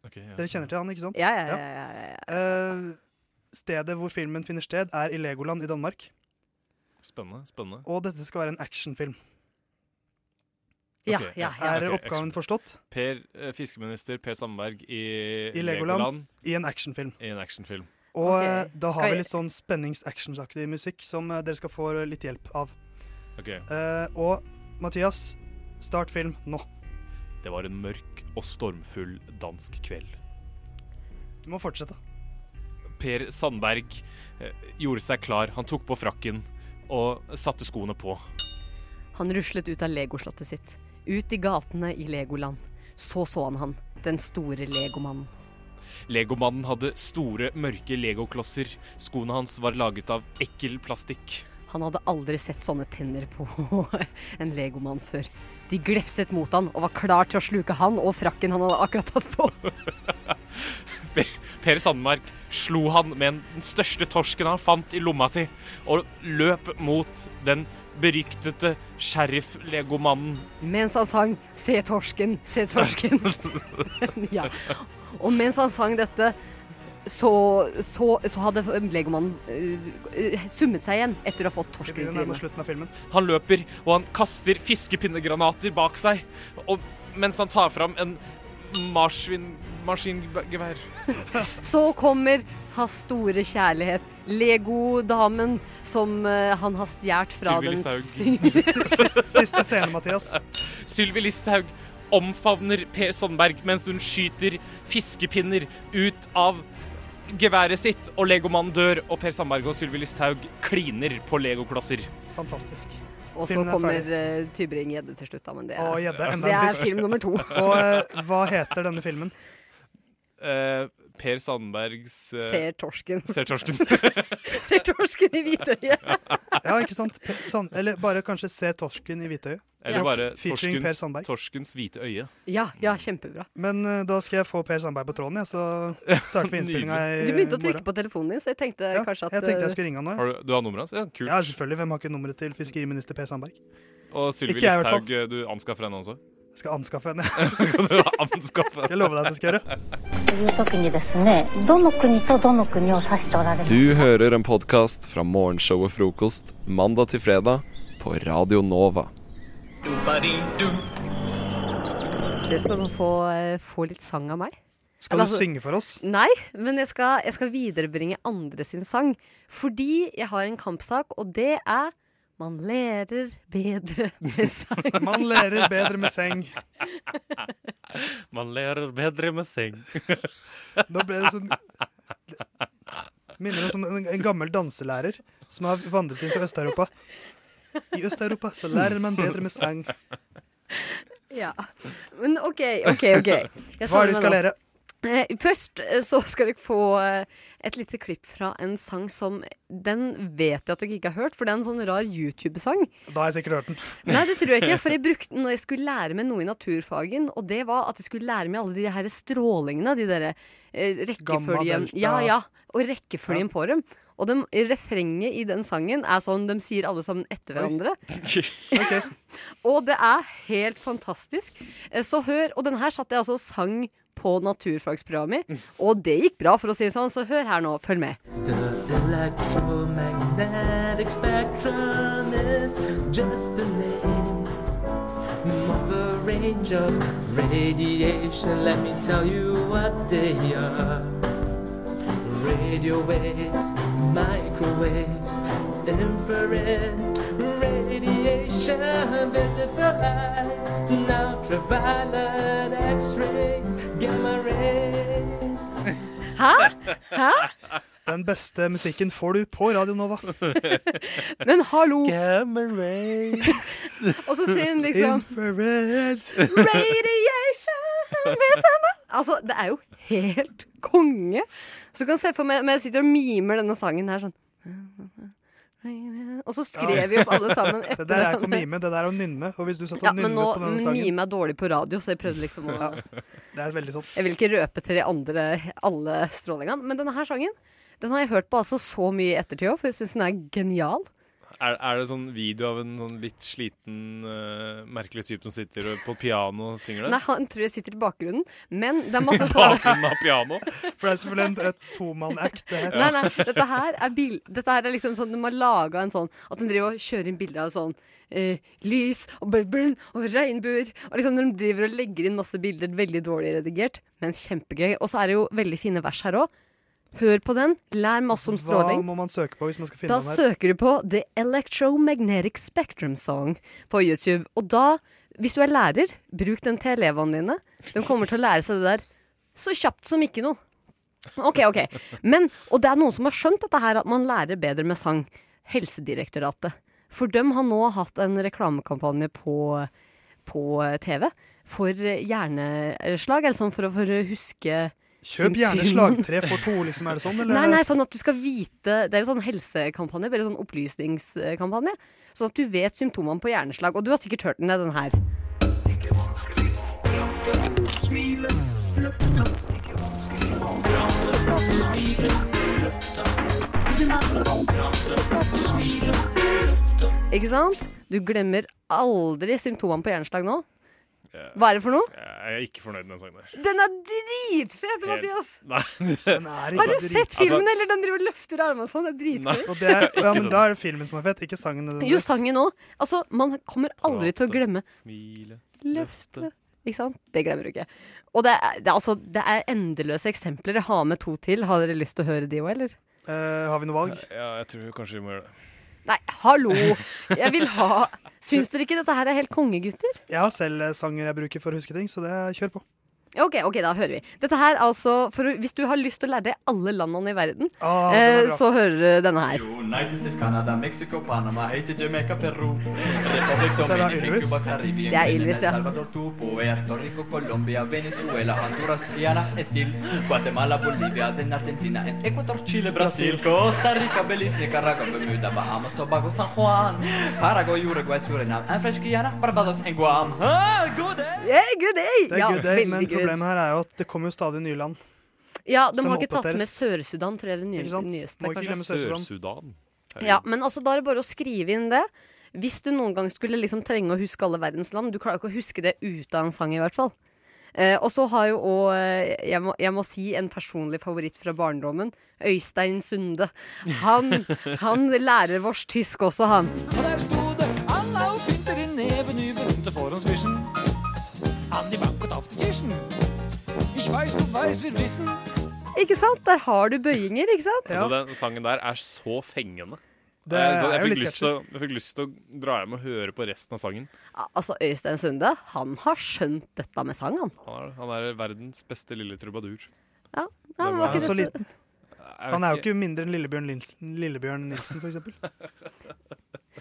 S9: Ok, ja.
S7: Dere kjenner til han, ikke sant?
S8: Ja, ja, ja. ja, ja, ja.
S7: Eh, stedet hvor filmen finner sted, er i Legoland i Danmark.
S9: Spennende. spennende.
S7: Og dette skal være en actionfilm.
S8: ja,
S9: Ok,
S8: ja, ja.
S7: Er
S9: ok,
S7: oppgaven
S9: action.
S7: forstått?
S9: Per, eh, fiskeminister Per Sandberg i,
S7: I Legoland. I en actionfilm.
S9: i en actionfilm.
S7: Og
S8: Ok,
S7: eh, da
S8: skal
S7: har vi
S8: jeg-
S7: litt sånn spennings-actionsaktig musikk som eh, dere skal få litt hjelp av.
S9: Ok,
S7: Eh, og Mathias, start film nå.
S9: Det var en mørk og stormfull dansk kveld.
S7: Du må fortsette.
S9: Per Sandberg eh, gjorde seg klar. Han tok på frakken, og satte skoene på.
S8: Han ruslet ut av legoslottet sitt, ut i gatene i Legoland. Så så han han, den store legomannen.
S9: Legomannen hadde store, mørke legoklosser. Skoene hans var laget av ekkel plastikk.
S8: Han hadde aldri sett sånne tenner på en legomann før. De glefset mot han og var klar til å sluke han og frakken han hadde akkurat tatt på.
S9: Per Sandmark slo han med den største torsken han fant i lomma si, og løp mot den beryktede sheriff-legomannen.
S8: Mens han sang 'Se torsken, se torsken'. ja. Og mens han sang dette, så, så, så hadde legomannen eh, summet seg igjen etter å ha fått
S7: Vi
S8: torsken i
S7: begynner nærmere
S8: trynet.
S7: slutten av filmen.
S9: Han løper, og han kaster fiskepinnegranater bak seg, og mens han tar fram en marsvin... Maskingevær.
S8: Så kommer hans store kjærlighet, legodamen som eh, han har stjålet fra
S9: Sylvi
S8: den
S9: Listhaug.
S8: syngende
S7: Siste scene, Mathias.
S9: Sylvi Listhaug omfavner Per Sandberg mens hun skyter fiskepinner ut av geværet sitt, og legomannen dør, og Per Sandberg og Sylvi Listhaug kliner på legoklosser.
S7: Fantastisk.
S8: Og så
S7: Filmen er
S8: kommer uh, Tybring-Gjedde til slutt, da, men det
S7: Og
S8: er,
S7: gjedde.
S8: det
S7: Enda en
S8: er
S7: fisk.
S8: film nummer to.
S7: Og eh, hva heter denne filmen?
S9: Eh, per Sandbergs eh,
S8: Ser torsken.
S9: Ser torsken.
S8: Ser torsken i hvitøyet.
S7: Ja, ikke sant? Per Sand eller bare kanskje Se torsken i hvitøyet.
S9: Eller
S8: Ja.
S9: bare
S7: Featuring Per
S9: torskens,
S7: Sandberg.
S9: torskens hvite øye.
S8: Ja, ja, kjempebra.
S7: Men eh, da skal jeg få Per Sandberg på tråden, jeg, så starter vi innspillinga i
S8: Du begynte å trykke
S7: morgen.
S8: på telefonen din, så jeg tenkte
S7: Ja,
S8: kanskje at
S7: jeg tenkte
S8: eh,
S7: jeg skulle ringe han nå. jeg.
S9: Har du, du har nummeret hans? Ja, kult.
S7: Ja, selvfølgelig. Hvem har ikke nummeret til fiskeriminister Per Sandberg?
S9: Og Sylvi
S7: Ikke jeg, i hvert
S9: Listhaug, eh, du anskaffer henne også?
S7: Jeg skal anskaffe henne.
S9: Kan du anskaffe
S7: Jeg lover deg at jeg skal gjøre.
S11: という時にですねどの国とどの国を指しておられる
S1: Du hører en podkast fra morgenshowet Frokost mandag til fredag på Radio Nova.
S8: det skal du få, eh, få litt sang av meg.
S7: Skal
S8: Eller
S7: du
S8: altså-
S7: synge for oss?
S8: Nei, men jeg skal, jeg skal viderebringe andre sin sang. Fordi jeg har en kampsak, og det er Man lærer bedre med sang.
S7: Man lærer bedre med seng.
S9: Man lærer bedre med seng.
S7: Da ble det sånn Minner oss om sånn- en, en gammel danselærer som har vandret inn fra Øst-Europa. I Øst-Europa så lærer man bedre med sang.
S8: Ja. Men OK, OK, OK.
S7: Hva
S8: Jeg
S7: er det vi
S8: savner
S7: skal
S8: meg nå.
S7: lære?
S8: Eh, Først eh, så skal dere få eh, et lite klipp fra en sang som Den vet jeg at dere ikke har hørt, for det er en sånn rar YouTube-sang.
S7: Da har jeg sikkert hørt den.
S8: Nei, det tror jeg ikke. For jeg brukte den når jeg skulle lære meg noe i naturfagen. Og det var at jeg skulle lære meg alle de her strålingene. De derre eh,
S7: Gamma,
S8: rekkefølgen.
S7: delta.
S8: Ja, ja. Og rekkefølgen på dem. Og dem, refrenget i den sangen er sånn de sier alle sammen etter hverandre.
S7: Ok.
S8: Og det er helt fantastisk. Eh, Så hør. Og den her satt jeg altså og sang på naturfagsprogrammet mitt. Og det gikk bra, for å si det sånn. Så hør her nå. Følg med.
S7: Den beste musikken får du på Radio Nova.
S8: Men hallo! og så sier hun liksom
S7: Infrared.
S8: Radiation med stemme. Altså, det er jo helt konge. Så du kan se for meg Men jeg sitter og mimer denne sangen her sånn Og så skrev vi opp alle sammen etter
S7: Det der er ikke å
S8: hverandre.
S7: mime, det der er å nynne. Og hvis du satt og
S8: Ja, men nå
S7: nynnet på denne sangen
S8: mime er dårlig på radio, så jeg prøvde liksom å
S7: Ja. Det er veldig sant.
S8: Jeg vil ikke røpe til de andre alle strålingene, men denne her sangen den har jeg hørt på altså så mye i ettertid òg, for jeg syns den er genial.
S9: Er, er det sånn video av en sånn litt sliten, eh, merkelig type som sitter og- på piano og synger
S8: Nei,
S9: det?
S8: han tror jeg sitter i bakgrunnen, men det er masse sånn- sånne
S9: Bakgrunnen av piano?
S7: For det er selvfølgelig en et tomann-act, det her.
S8: Nei, nei, dette her er, bil dette her er liksom sånn de har laga en sånn At de driver og kjører inn bilder av sånn eh, lys og bøbbel og regnbuer. Og liksom de driver og legger inn masse bilder, veldig dårlig redigert, men kjempegøy. Og så er det jo veldig fine vers her òg. Hør på den. Lær masse om
S7: Hva
S8: stråling.
S7: må man søke på hvis man skal finne
S8: Da
S7: den her?
S8: søker du på The Electromagnetic Spectrum Song på YouTube. Og da, hvis du er lærer, bruk den til elevene dine. De kommer til å lære seg det der så kjapt som ikke noe. Ok, ok. Men, og det er noen som har skjønt dette her, at man lærer bedre med sang. Helsedirektoratet. For dem har nå hatt en reklamekampanje på, på TV for hjerneslag. Eller sånn for å, for å huske
S7: Kjøp gjerne
S8: Symptomen.
S7: slagtre for to, liksom. Er det sånn, eller?
S8: Nei, nei, sånn at du skal vite Det er jo sånn helsekampanje, eller sånn opplysningskampanje. Sånn at du vet symptomene på hjerneslag. Og du har sikkert hørt den, den her. Ikke sant? Du glemmer aldri symptomene på hjerneslag nå. Hva er det for noe?
S9: Jeg er ikke fornøyd med den sangen der.
S8: Den er dritfet, Mathias!
S9: Nei.
S7: Den er
S8: Har
S7: ikke
S8: du
S7: drit.
S8: sett filmen,
S9: Altså-
S8: eller den driver og løfter armene sånn? Det er dritgøy.
S7: Og det er, ja,
S9: Ikke sånn.
S7: men
S9: sant.
S7: da er det filmen som er fett, ikke sangen.
S8: Jo,
S7: nødvendigvis.
S8: sangen òg. Altså, man kommer aldri til å
S9: Prate.
S8: glemme
S9: Smile.
S8: løftet. Ikke sant? Det glemmer du ikke. Og det er, det er, altså, det er endeløse eksempler. Jeg har med to til. Har dere lyst til å høre de òg, eller?
S7: Eh, har vi noe valg?
S9: Ja, jeg tror kanskje vi må gjøre det.
S8: Nei, hallo! Jeg vil ha Syns dere ikke dette her er helt kongegutter?
S7: Jeg har selv eh, sanger jeg bruker for å huske ting, så det kjør på.
S8: OK, ok, da hører vi. Dette her altså for, å- Hvis du har lyst til å lære deg alle landene i verden,
S7: Ah, den er
S8: eh,
S7: bra.
S8: så hører du denne her.
S12: United States, Canada, Mexico, Panama, Haiti, Jamaica, Peru, Republic
S7: er da
S12: Dominican,
S7: Ylvis.
S12: Cuba, Caribbean,
S8: Det er Ylvis, ja.
S12: El Salvador, Tupu, Puerto Rico, Colombia, Venezuela, Honduras, Guyana, Estil, Guatemala, Bolivia, then Argentina, and Ecuador, Chile, Brasil, Costa Rica, Belize, Nicaragua, Bermuda, Bahamas, Tobago, San Juan, Paraguay, Uruguay, Surinam, and French Guyana, Barbados, and Guam. Ah, good day!
S8: Yeah, good day!
S7: Det er
S8: ja,
S7: good day, men
S8: veldig good.
S7: problemet her er jo at det kommer jo stadig nye land.
S8: Ja,
S7: Så
S8: de
S7: det
S8: har
S7: må
S8: ikke tatt med
S7: oppdateres.
S8: Sør-Sudan, tror jeg. Det
S7: Ikke sant?
S8: nye- nyeste.
S7: Må ikke
S8: kanskje.
S7: glemme Sør-Sudan.
S9: Sør-Sudan.
S8: Ja, men altså, da er det bare å skrive inn det. Hvis du noen gang skulle liksom trenge å huske alle verdens land. Du klarer ikke å huske det ut av en sang, i hvert fall. Eh, og så har jo òg eh, jeg, må- jeg må si en personlig favoritt fra barndommen. Øystein Sunde. Han, han lærer vårs tysk også, han.
S12: Og der sto det Anna og finter i neven i berømte forhåndsvisjen. An die banket auf die Tischen. Ich weiß, du weiß, wir wissen.
S8: Ikke sant? Der har du bøyinger, ikke sant?
S7: Ja.
S9: Altså, den sangen der er så fengende.
S7: Det
S9: jeg, så
S7: er
S9: jeg,
S7: jo
S9: fikk
S7: litt
S9: lyst til, å- jeg fikk lyst til å dra hjem og høre på resten av sangen.
S8: Ja, Altså, Øystein Sunde, han har skjønt dette med sang, han.
S9: Han er, han er verdens beste lille trubadur.
S8: Ja, men
S9: Det
S8: var
S9: var
S8: ikke
S7: så
S8: det-
S7: liten. Altså, Han er jo ikke mindre enn Lillebjørn Nilsen, Lillebjørn Nilsen for eksempel.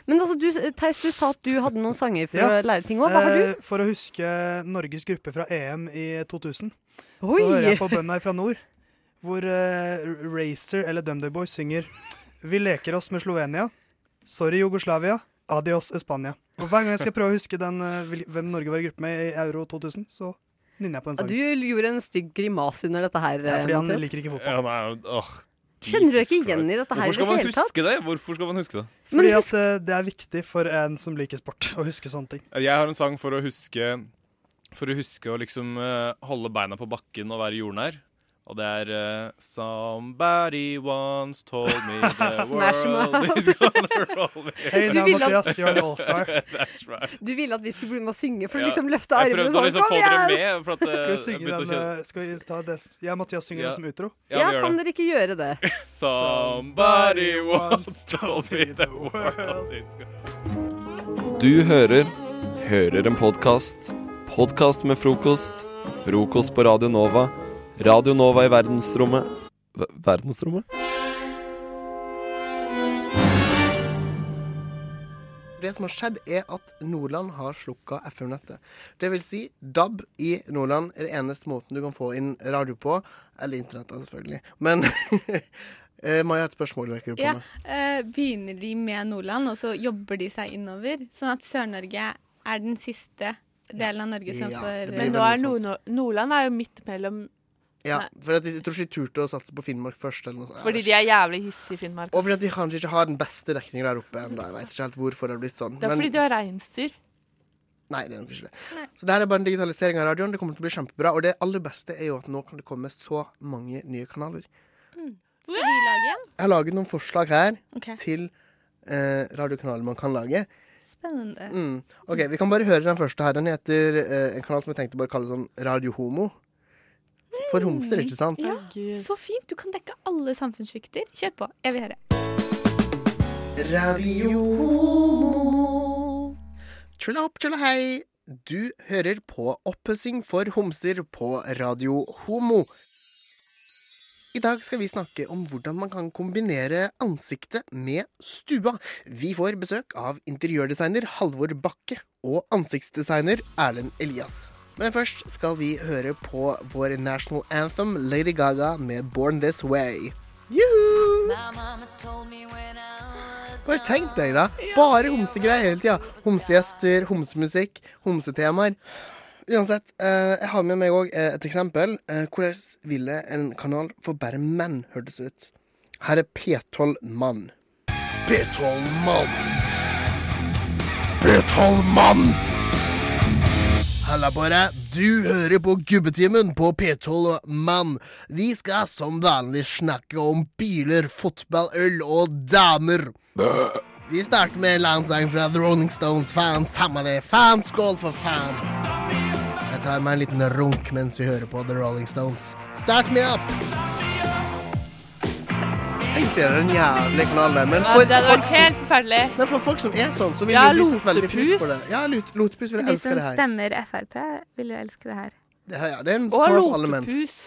S8: Men altså, du, Theis, du sa at du hadde noen sanger for
S7: Ja.
S8: å lære ting òg. Hva har du?
S7: Eh, for å huske Norges gruppe fra EM i 2000,
S8: Oi!
S7: så hører jeg på Bønda fra nord, hvor eh, Racer eller DumDum Boys synger Vi leker oss med Slovenia. Sorry, Jugoslavia. Adios, Spania. Og hver gang jeg skal prøve å huske den, eh, hvil- hvem Norge var i gruppe med i Euro 2000, så nynner jeg på den
S8: Ja,
S7: sangen.
S8: Du gjorde en stygg grimas under dette her.
S7: Det er fordi han
S8: Mathias.
S7: liker ikke fotball.
S9: Ja, han er jo- åh,
S8: Kjenner du
S9: Jesus
S8: ikke igjen
S9: Christ.
S8: i dette her i
S9: Hvorfor skal
S8: det
S9: man
S8: hele tatt?
S9: huske det? Hvorfor skal man huske det?
S8: Men
S7: Fordi at
S8: husk,
S7: eh, det er viktig for en som liker sport, å huske sånne ting.
S9: Jeg har en sang for å huske For å huske å liksom eh, holde beina på bakken og være jordnær. Og det er eh, Somebody once told me the
S8: Smash
S9: world
S8: Mouth.
S9: is gonna roll me.
S7: Hey
S8: Du
S7: now,
S8: vil at-
S7: Mathias, you're the all-star.
S9: That's right.
S8: du ville at vi skulle bli med og synge for å
S9: Ja.
S8: liksom løfte
S9: Jeg
S8: armene
S9: prøvde å
S8: sånn.
S9: liksom få
S8: Kom
S9: dere
S8: igjen!
S9: med. For at, eh,
S7: Skal vi
S9: jeg
S7: synge
S9: begynte å
S7: den
S9: kjenne-
S7: eh, skal vi ta det? Jeg og Mathias synger
S9: Ja.
S7: det som utro.
S8: Ja,
S9: vi gjør
S8: kan
S9: det.
S8: dere ikke gjøre det?
S9: Somebody once told me the world is gonna
S1: Du hører Hører en podkast. Podkast med frokost. Frokost på Radio Nova. Radio Nova i verdensrommet. Ver- Verdensrommet?
S10: Det som har skjedd, er at Nordland har slukka FM-nettet. Det vil si, DAB i Nordland er den eneste måten du kan få inn radio på. Eller internett, da, selvfølgelig. Men eh, Maja, et spørsmål du rekker opp
S13: Ja.
S10: hånda.
S13: Eh, begynner de med Nordland, og så jobber de seg innover. Sånn at Sør-Norge er den siste delen av Norge som
S10: Ja, det
S13: får
S10: blir
S13: Men
S3: Men nå
S10: vel
S3: er
S10: noe
S3: Nord Nordland er jo midt mellom
S10: Ja, for at de, jeg tror ikke de turte å satse på Finnmark først. Eller noe sånt.
S3: Fordi de er jævlig hissige i Finnmark.
S10: Og fordi at de kanskje ikke har den beste dekningen der oppe ennå. Jeg vet ikke helt hvorfor det har blitt sånn.
S3: Det er
S10: Men-
S3: fordi de har reinsdyr.
S10: Nei, det er nok ikke det. Så det her er bare en digitalisering av radioen. Det kommer til å bli kjempebra. Og det aller beste er jo at nå kan det komme så mange nye kanaler.
S13: Skal vi lage en?
S10: Jeg har laget noen forslag her
S13: Ok,
S10: til eh, radiokanaler man kan lage.
S13: Spennende.
S10: Mm. Ok, Vi kan bare høre den første her. Den heter eh, en kanal som jeg tenkte bare kalle sånn Radio Homo. For homser, ikke sant?
S13: Mm. Ja.
S3: Gud.
S13: Så fint! Du kan dekke alle samfunnssjikter. Kjør på. Jeg vil høre.
S10: Radio Homo. Tjula opp, tjula hei. Du hører på Oppussing for homser på Radio Homo. I dag skal vi snakke om hvordan man kan kombinere ansiktet med stua. Vi får besøk av interiørdesigner Halvor Bakke og ansiktsdesigner Erlend Elias. Men først skal vi høre på vår national anthem Lady Gaga med Born This Way. Bare tenk deg, da. Bare homsegreier hele tida. Homsegjester, homsemusikk, homsetemaer. Uansett, eh, jeg har med meg òg eh, et eksempel. Eh, hvordan ville en kanal for bare menn hørtes ut? Her er P12 Mann. P12 Mann. P12 Mann. Halla, Båre. Du hører på Gubbetimen på P12 Mann. Vi skal som vanlig snakke om biler, fotball, øl og damer. Vi starter med en langsang fra The Rolling Stones. Faen, samme det. Faen, skål for faen. Jeg tar meg en liten runk mens vi hører på The Rolling Stones. Start me up! Tenk dere den jævlig knallen. Men for,
S5: Ja, det hadde
S10: folk
S5: vært
S10: som,
S5: helt forferdelig.
S10: men for folk som er sånn, så vil
S5: Ja,
S10: de bli satt veldig pris på
S5: lotepus.
S10: det. Ja, lot- lotepus vil jeg
S13: De som
S10: elske det her.
S13: stemmer Frp, vil jo elske det her.
S10: Det, her, ja, det er en
S13: Og
S10: kanal for alle menn.
S13: lotepus.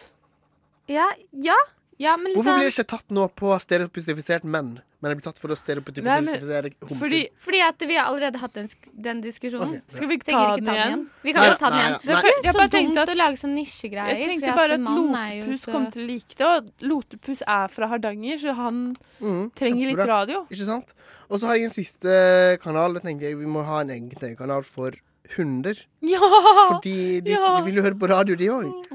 S13: Ja, ja, ja, men liksom
S10: Hvorfor blir det ikke tatt nå på stereotypifisert menn, men det blir tatt for å
S13: Nei, men-
S10: stereotypifisere homser?
S13: Fordi, fordi at vi har allerede hatt den, sk- den diskusjonen.
S10: Ok,
S5: Skal vi ikke
S13: Trenger
S5: ta
S13: ikke
S5: den igjen?
S13: Vi kan
S10: Nei,
S13: jo ta den
S10: nei,
S13: igjen.
S10: nei.
S13: Det
S5: Jeg
S13: er så
S5: bare
S13: dumt
S5: tenkte at-
S13: å lage sånne nisjegreier.
S5: Jeg
S13: fordi
S5: tenkte bare at
S13: mann er jo
S5: Lotepus
S13: så-
S5: kom til å like det, og Lotepus er fra Hardanger, så han trenger litt
S10: Kjempebra.
S5: radio.
S10: Mm. Ikke sant? Og så har jeg en siste kanal. Jeg tenker Vi må ha en egen TV-kanal for hunder.
S5: Ja!
S10: Fordi de,
S5: Ja!
S10: de vil jo høre på radio, de òg.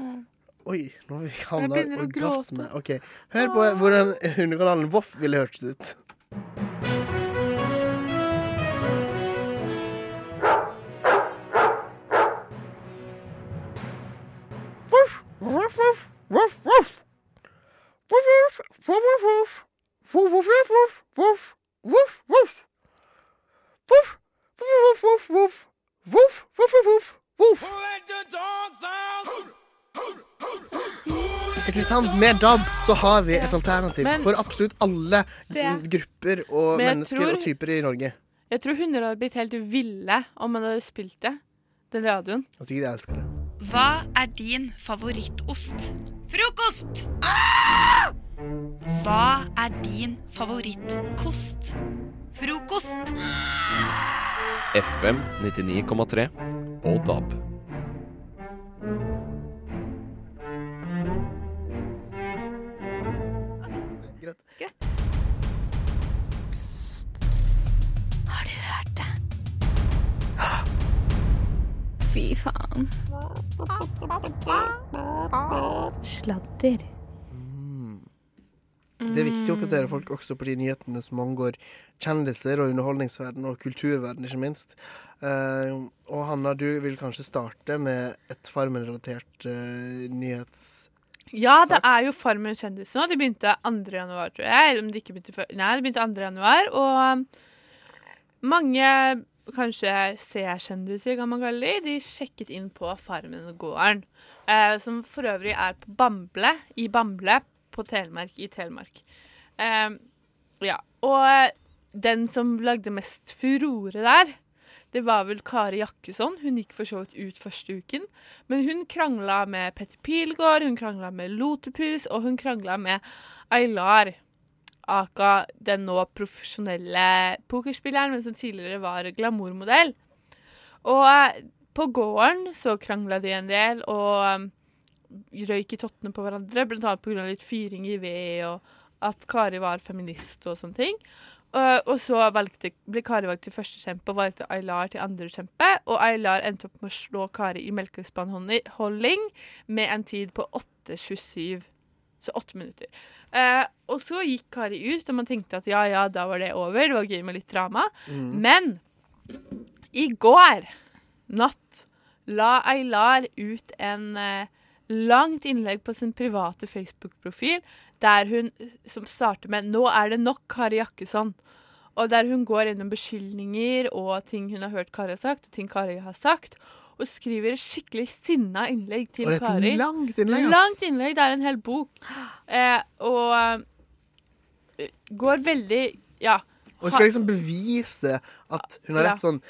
S10: Oi, nå har vi havna i
S5: begynner å
S10: orgasme. Ok, Hør på hvordan hundekanalen Voff ville hørtes ut. Kristian, med DAB så har vi et alternativ
S5: Men-
S10: for absolutt alle
S5: Det-
S10: grupper og
S5: Men jeg
S10: mennesker
S5: tror-
S10: og typer i Norge.
S5: Jeg tror hunder hadde blitt helt ville om man hadde spilt det. Den radioen.
S10: Altså, jeg elsker det.
S3: Hva er din favorittost? Frokost! Hva er din favorittkost? Frokost!
S1: FM 99,3 og DAB.
S13: Har du hørt det? Fy faen. Sladder.
S10: Det er viktig å oppdatere folk også på de nyhetene som angår kjendiser og underholdningsverden og kulturverden, ikke minst. Eh, og Hanna, du vil kanskje starte med et Farmen-relatert eh, nyhets...
S5: Ja, det er jo Farmen kjendis nå. De begynte 2. januar, tror jeg. Eller om de ikke begynte før. Nei, de begynte 2. januar. Og um, mange kanskje C-kjendiser, kan man kalle de, de sjekket inn på Farmen-gården. Eh, som for øvrig er på Bamble, i Bamble på Telemark i Telemark. Eh, ja. Og eh, den som lagde mest furore der, det var vel Kari Jakkesson. Hun gikk for så vidt ut første uken. Men hun krangla med Petter Pilgaard, hun krangla med Lotepus, og hun krangla med Aylar. Aka, den nå profesjonelle pokerspilleren, men som tidligere var glamourmodell. Og eh, på gården så krangla de en del, og um, røyk i tottene på hverandre, blant annet pga. litt fyring i ved, og at Kari var feminist og sånne ting. Eh, og så valgte, ble Kari valgt til førstekjempe og valgte Aylar til andrekjempe. Og Aylar endte opp med å slå Kari i melkespannholding med en tid på 8.27. Så åtte minutter. Eh, og så gikk Kari ut, og man tenkte at ja, ja, da var det over. Det var gøy med litt drama.
S14: Mm.
S5: Men i går natt la Aylar ut en eh, langt innlegg på sin private Facebook-profil, der hun eh, som starter med 'Nå er det nok, Kari Jakkesson'. Og der hun går gjennom beskyldninger og ting hun har hørt Kari har sagt, og ting Kari har sagt, og skriver et skikkelig sinna innlegg til
S10: Og det er et
S5: Kari.
S10: langt innlegg, ass.
S5: Langt innlegg, Det er en hel bok. Eh, og eh, går veldig Ja.
S10: Og hun skal liksom bevise at hun har
S5: Ja.
S10: rett sånn